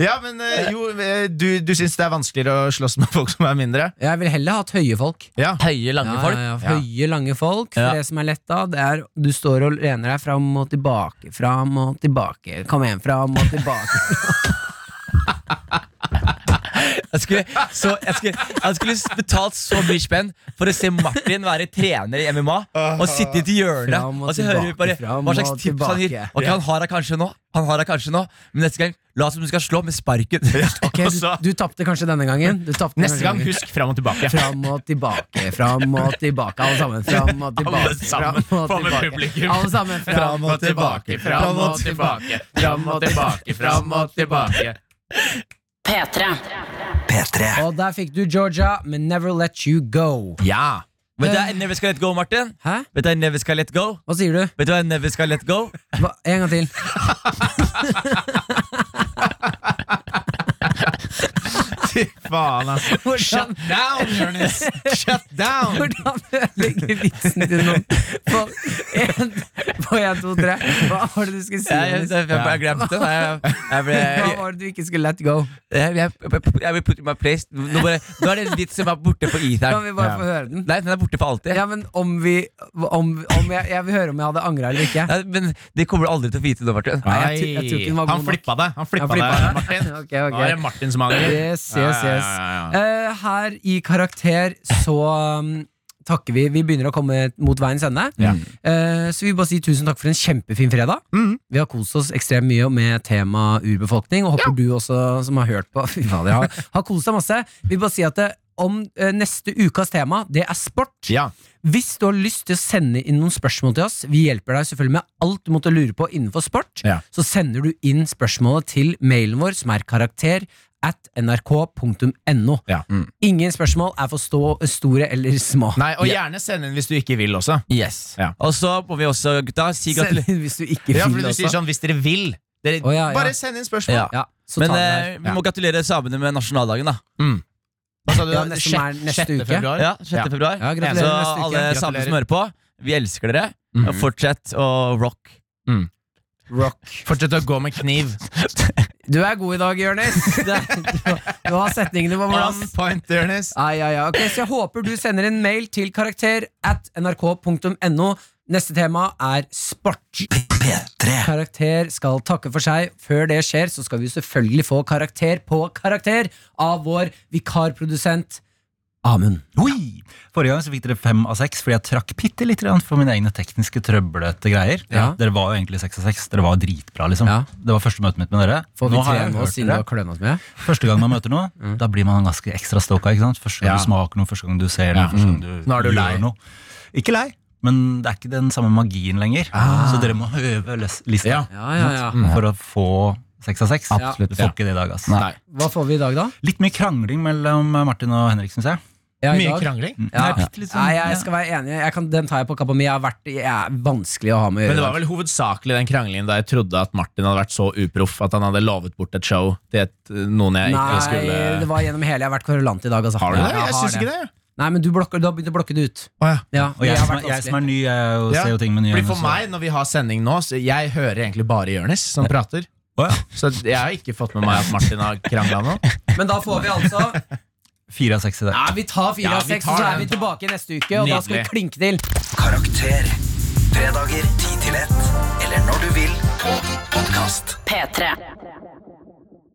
Ja, men eh, jo, eh, du, du syns det er vanskeligere å slåss med folk som er mindre?
Jeg vil heller ha hatt høye folk.
Ja.
Høye, lange folk.
Ja, ja, høye, lange folk. For
Ja.
Det som er lett da, det er du står og lener deg fram og tilbake, fram og tilbake. Kom igjen, fram og tilbake.
Jeg skulle, så, jeg, skulle, jeg skulle betalt så mye spenn for å se Martin være trener i MMA og sitte i et hjørne.
Fram og
Og så hører vi bare
tilbake, fram
hva slags
og
tips han gir.
tilbake.
Ok, Han har deg kanskje nå, han har deg kanskje nå men neste gang la oss som du skal slå med sparken.
Ok, du, du tapte kanskje denne gangen. Du tapte
Neste
kanskje
gang,
denne gangen.
husk fram og tilbake.
Fram og tilbake, fram og tilbake. Alle sammen. Fram og tilbake.
Alle sammen.
fram og
Få med
tilbake.
publikum.
Alle sammen. Fram og tilbake, fram og tilbake. Fram og tilbake, fram og tilbake.
P3.
P3
Og der fikk du Georgia med Never Let You Go.
Ja.
Vet du hva jeg never skal let go, Martin?
Hæ?
Vet du hva jeg never skal let go?
Hva sier du?
Vet du hva jeg never skal let go?
Hva? En gang til.
Fy faen, altså. Shut down, Jonis! Shut down!
Hvordan ødelegger vitsen til noen? På en, på en, to, tre. Hva var det du skulle si?
Jeg, jeg,
Jonas?
jeg, jeg, jeg glemte det. Jeg, jeg, ble-
Hva
jeg,
var det du ikke skulle let go?
jeg, jeg, jeg ble put in my place. Nå, bare, nå er det en vits som er borte på
Kan
etheren.
vi bare få høre den?
Nei, den er borte for alltid.
Ja, men om vi om, om jeg, jeg vil høre om jeg hadde angra eller ikke.
Ja, men det kommer du aldri til å vite nå, Martin.
Nei, jeg tror- jeg tror ikke den var
han
god nok.
flippa det, han flippa
Jeg flippa
det,
den.
Martin.
Ok, ok.
Nå er det Martin som angrer.
Yes, yes,
Ja, ja,
yes.
ja, ja, ja.
Eh, her i Karakter så um, takker vi. Vi begynner å komme mot veiens ende.
Ja.
Eh, så vi vil bare si tusen takk for en kjempefin fredag.
Mm.
Vi har kost oss ekstremt mye med tema urbefolkning, og håper du også som har hørt på, fy fader, har, har kost deg masse. Vi vil bare si at eh, om eh, neste ukas tema, det er sport.
Ja.
Hvis du har lyst til å sende inn noen spørsmål til oss, vi hjelper deg selvfølgelig med alt du måtte lure på innenfor sport,
Ja.
så sender du inn spørsmålet til mailen vår, som er karakter at nrk.no.
Ja. Mm.
Ingen spørsmål er for stå, store eller små.
Nei, og gjerne send inn hvis du ikke vil også.
Yes.
Ja.
Og så må vi også, gutta, si
Send
gratulerer.
inn hvis du ikke
Ja,
vil
fordi du sier
også.
sånn hvis dere vil. Dere,
Å, ja, ja.
Bare sånn. send inn spørsmål.
Ja.
Ja, så
Men
tar vi det
eh,
her.
vi må gratulere samene med nasjonaldagen, da.
Hva sa du?
Ja, neste- som er neste
sjette
uke.
februar?
Ja, 6.
Ja.
februar.
Ja, gratulerer
så
neste uke. Mhm.
alle samer
Gratulerer.
som hører på, vi elsker dere. Og fortsett å rock.
Rock.
Fortsett å gå med kniv.
Du er god i dag, Jonis. Du, du har setningene på plass.
On point, Jonis.
Ai, ai, ai. Ok, så jeg håper du sender en mail til karakter at nrk.no. Neste tema er sport.
P3
Karakter skal takke for seg. Før det skjer, så skal vi selvfølgelig få karakter på karakter av vår vikarprodusent Amund.
Oi! Forrige gang så fikk dere fem av seks fordi jeg trakk bitte litt for mine egne tekniske trøblete greier.
Ja.
Dere var jo egentlig seks av seks. Dere var dritbra, liksom.
Ja.
Det var første møtet mitt med dere.
Får vi
Nå har jeg
trene
hørt
oss siden du
dere.
har klønet med?
Første gang man møter noe, da blir man ganske ekstra stoka. ikke sant? Første
Ja.
gang du smaker noe, første gang du ser noe,
Ja.
første gang du
Nå er du
gjør
lei.
noe. Ikke lei, men det er ikke den samme magien lenger. Så dere må øve les- lista
Ja.
Ja, ja, ja.
Mm. for å få seks av seks.
Absolutt,
Du får ikke det i dag, ass.
Nei.
Hva får vi i dag, da?
Litt mye krangling mellom Martin og Henrik, syns jeg.
Ja, i
Mye
dag-
krangling.
Ja.
Det er bitte litt sånn-
Nei, jeg skal være enig. Jeg kan, den tar jeg på kappa mi. Jeg har vært jeg er vanskelig å ha med å
Men det
gjøre. i
var
dag.
vel hovedsakelig den kranglingen da jeg trodde at Martin hadde vært så uproff at han hadde lovet bort et show til et, eh, noen jeg ikke skulle
Nei, det var gjennom hele. Jeg har vært kverulant i dag. Altså.
Har du det?
Ja, jeg
Jeg
har
syns ikke det.
Nei, men du, blokker, du har begynt å blokke det ut.
Å, ja.
Ja,
Og jeg,
det har
som,
vært
er, jeg som
vanskelig.
er ny, jeg jo,
Ja.
ser jo ting med nye
Fordi
øyne.
For
så-
meg, når vi har sending nå, så jeg hører egentlig bare Jonis som prater.
Å, ja.
Så jeg har ikke fått med meg at Martin har krangla nå.
Men da får vi altså
Fire av seks i dag.
Ja, vi tar fire
Ja,
av
vi
seks,
tar
og så er
den.
vi tilbake neste uke. Og da skal vi
Nydelig.
klinke til.
Karakter Fredager 10 til 1 Eller når du vil På podcast
P3.